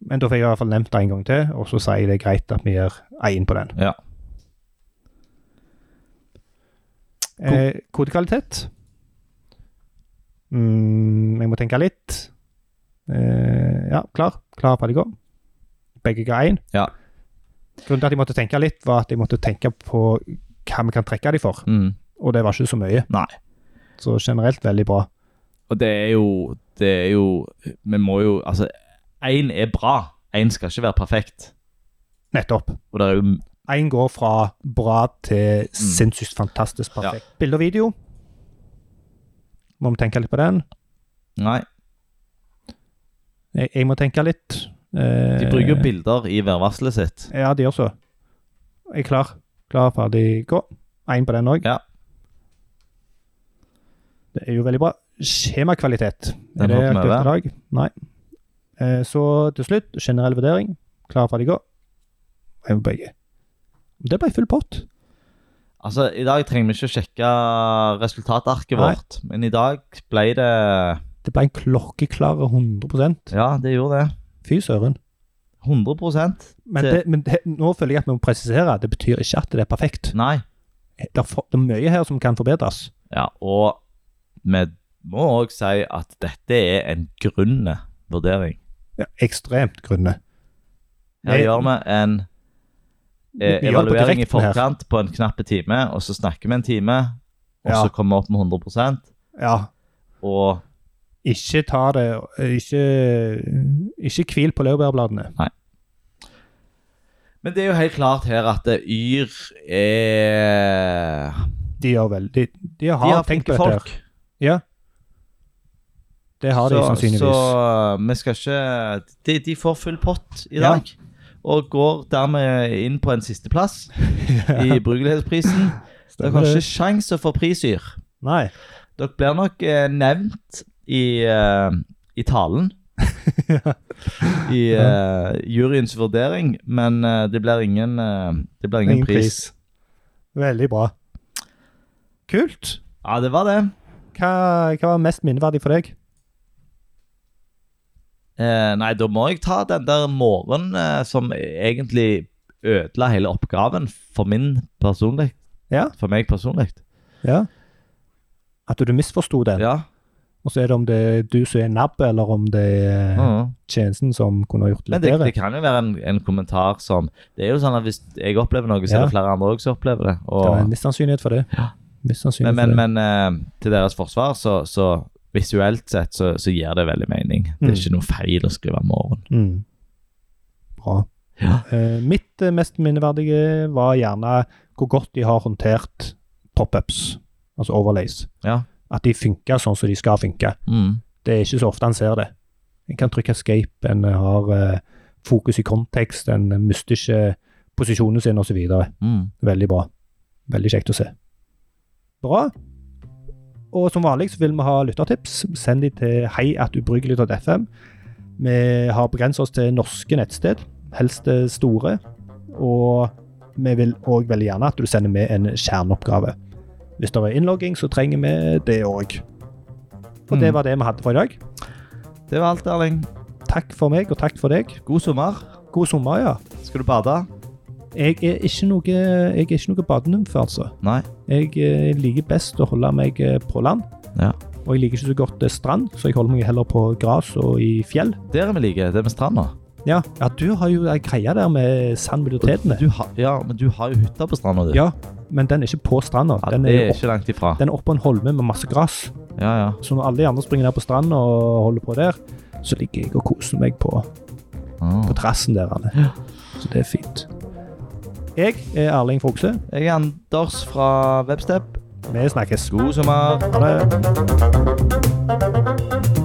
Men da får jeg i hvert fall nevnt det en gang til, og så sier jeg det er greit at vi gjør én på den.
Ja.
Eh, kodekvalitet. Mm, jeg må tenke litt. Eh, ja, klar. Klar, ferdig, gå. Begge ga én.
Ja.
Grunnen til at jeg måtte tenke litt, var at jeg måtte tenke på hva vi kan trekke de for,
Mm.
og det var ikke så mye.
Nei.
Så generelt veldig bra.
Og det er jo Det er jo Vi må jo Altså, én er bra. Én skal ikke være perfekt.
Nettopp.
Og det er jo
Én går fra bra til
Mm.
sinnssykt fantastisk perfekt. Bilde og video. Må vi tenke litt på den?
Nei.
Jeg, jeg må tenke litt. Eh,
De bruker jo bilder i værvarselet sitt.
Ja, de gjør så. Jeg er klar. Klar, ferdig, gå. Én på den òg.
Ja.
Det er jo veldig bra. Skjemakvalitet.
Den
er det
hopper vi
aktuelt i
over.
dag? Nei. Eh, så til slutt, generell vurdering. Klar, ferdig, gå. Én på begge. Det ble full pott.
Altså, I dag trenger vi ikke å sjekke resultatarket
Nei.
vårt, men i dag ble det
Det ble en klokkeklar 100
Ja, det gjorde det.
Fy søren.
100
Men,
Det-
det, men det, nå føler jeg at vi må presisere. Det betyr ikke at det er perfekt.
Nei.
Det er, for, det er mye her som kan forbedres.
Ja, og vi må òg si at dette er en grunne vurdering.
Ja, ekstremt grunne.
Her
Det-
gjør vi en
Vi
eh,
gjør det på
evaluering i
direkten her.
forkant på en knappe time, og så snakker vi en time og
Ja.
så komme opp med 100
Ja.
og
Ikke ta det Ikke, ikke hvil på laurbærbladene.
Men det er jo helt klart her at eh, Yr er
De gjør vel De, de har,
De har
tenkt på
flinke
dette. her.
folk.
Ja. Det har de sannsynligvis.
Så eh, vi skal ikke De, de får full pott i
Ja.
dag. Og går dermed inn på en sisteplass i brukelighetsprisen. Dere
Stemmer
har
det.
ikke sjans å få prisyr.
Nei.
Dere blir nok eh, nevnt i, eh, i talen. I eh, juryens vurdering, men eh, det blir ingen, eh, det blir ingen,
Ingen
pris.
pris. Veldig bra. Kult.
Ja, det var det.
Hva, hva var mest minneverdig for deg?
Eh, nei, da må jeg ta den der morgenen eh, som egentlig ødela hele oppgaven for min personlig.
Ja.
For meg personlig.
Ja. At du misforsto den.
Ja.
Og så er det om det er du som er nabb, eller om det er
Mhm.
tjenesten som kunne ha gjort det
Men det,
litt bedre.
det kan jo være en, en kommentar som Det er jo sånn at hvis jeg opplever noe, så er det
Ja.
flere andre òg som opplever det.
Det
Og,
var en viss sannsynlighet for det.
Ja.
Viss sannsynlighet
men men,
for det.
men eh, til deres forsvar, så, så visuelt sett så, så gir det veldig mening.
Mm.
Det er ikke noe feil å skrive morgen.
Mm. Bra.
Ja.
Eh, mitt eh, mest minneverdige var gjerne hvor godt de har håndtert pop-ups, altså overlays.
Ja.
At de funker sånn som de skal funke.
Mm.
Det er ikke så ofte en ser det. En kan trykke escape, en har eh, fokus i kontekst, en mister ikke posisjonen sin osv.
Mm.
Veldig bra. Veldig kjekt å se. Bra. Og som vanlig så vil vi ha lyttertips. Send de til heiatubryggelig.fm. Vi har begrenset oss til norske nettsted, helst eh, store. Og vi vil òg veldig gjerne at du sender med en kjerneoppgave. Hvis det er innlogging, så trenger vi det òg. Og det
Mm.
var det vi hadde for i dag.
Det var alt, Erling.
Takk for meg, og takk for deg.
God sommer.
God sommer, ja.
Skal du bade?
Jeg er ikke noe, jeg er ikke noe badenymfe, altså.
Nei.
Jeg eh, liker best å holde meg eh, på land.
Ja.
Og jeg liker ikke så godt eh, strand, så jeg holder meg heller på gras og i fjell.
Der er vi like. Det er med stranda.
Ja, ja du har jo ei greie der med sandmiddeltetene.
Du har, ja, men du har jo hytta på stranda, du.
Ja, men den er ikke på stranda.
Ja,
Den
det
er,
er
jo opp,
ikke langt ifra.
den er oppå en holme med masse gras.
Ja, ja.
Så når alle de andre springer ned på stranda og holder på der, så ligger jeg og koser meg på,
Ah.
på terrassen der. Anne. Så det er fint. Jeg er Erling Fogse.
Jeg er Anders fra Webstep.
Vi snakkes.
God sommer.
Ha det.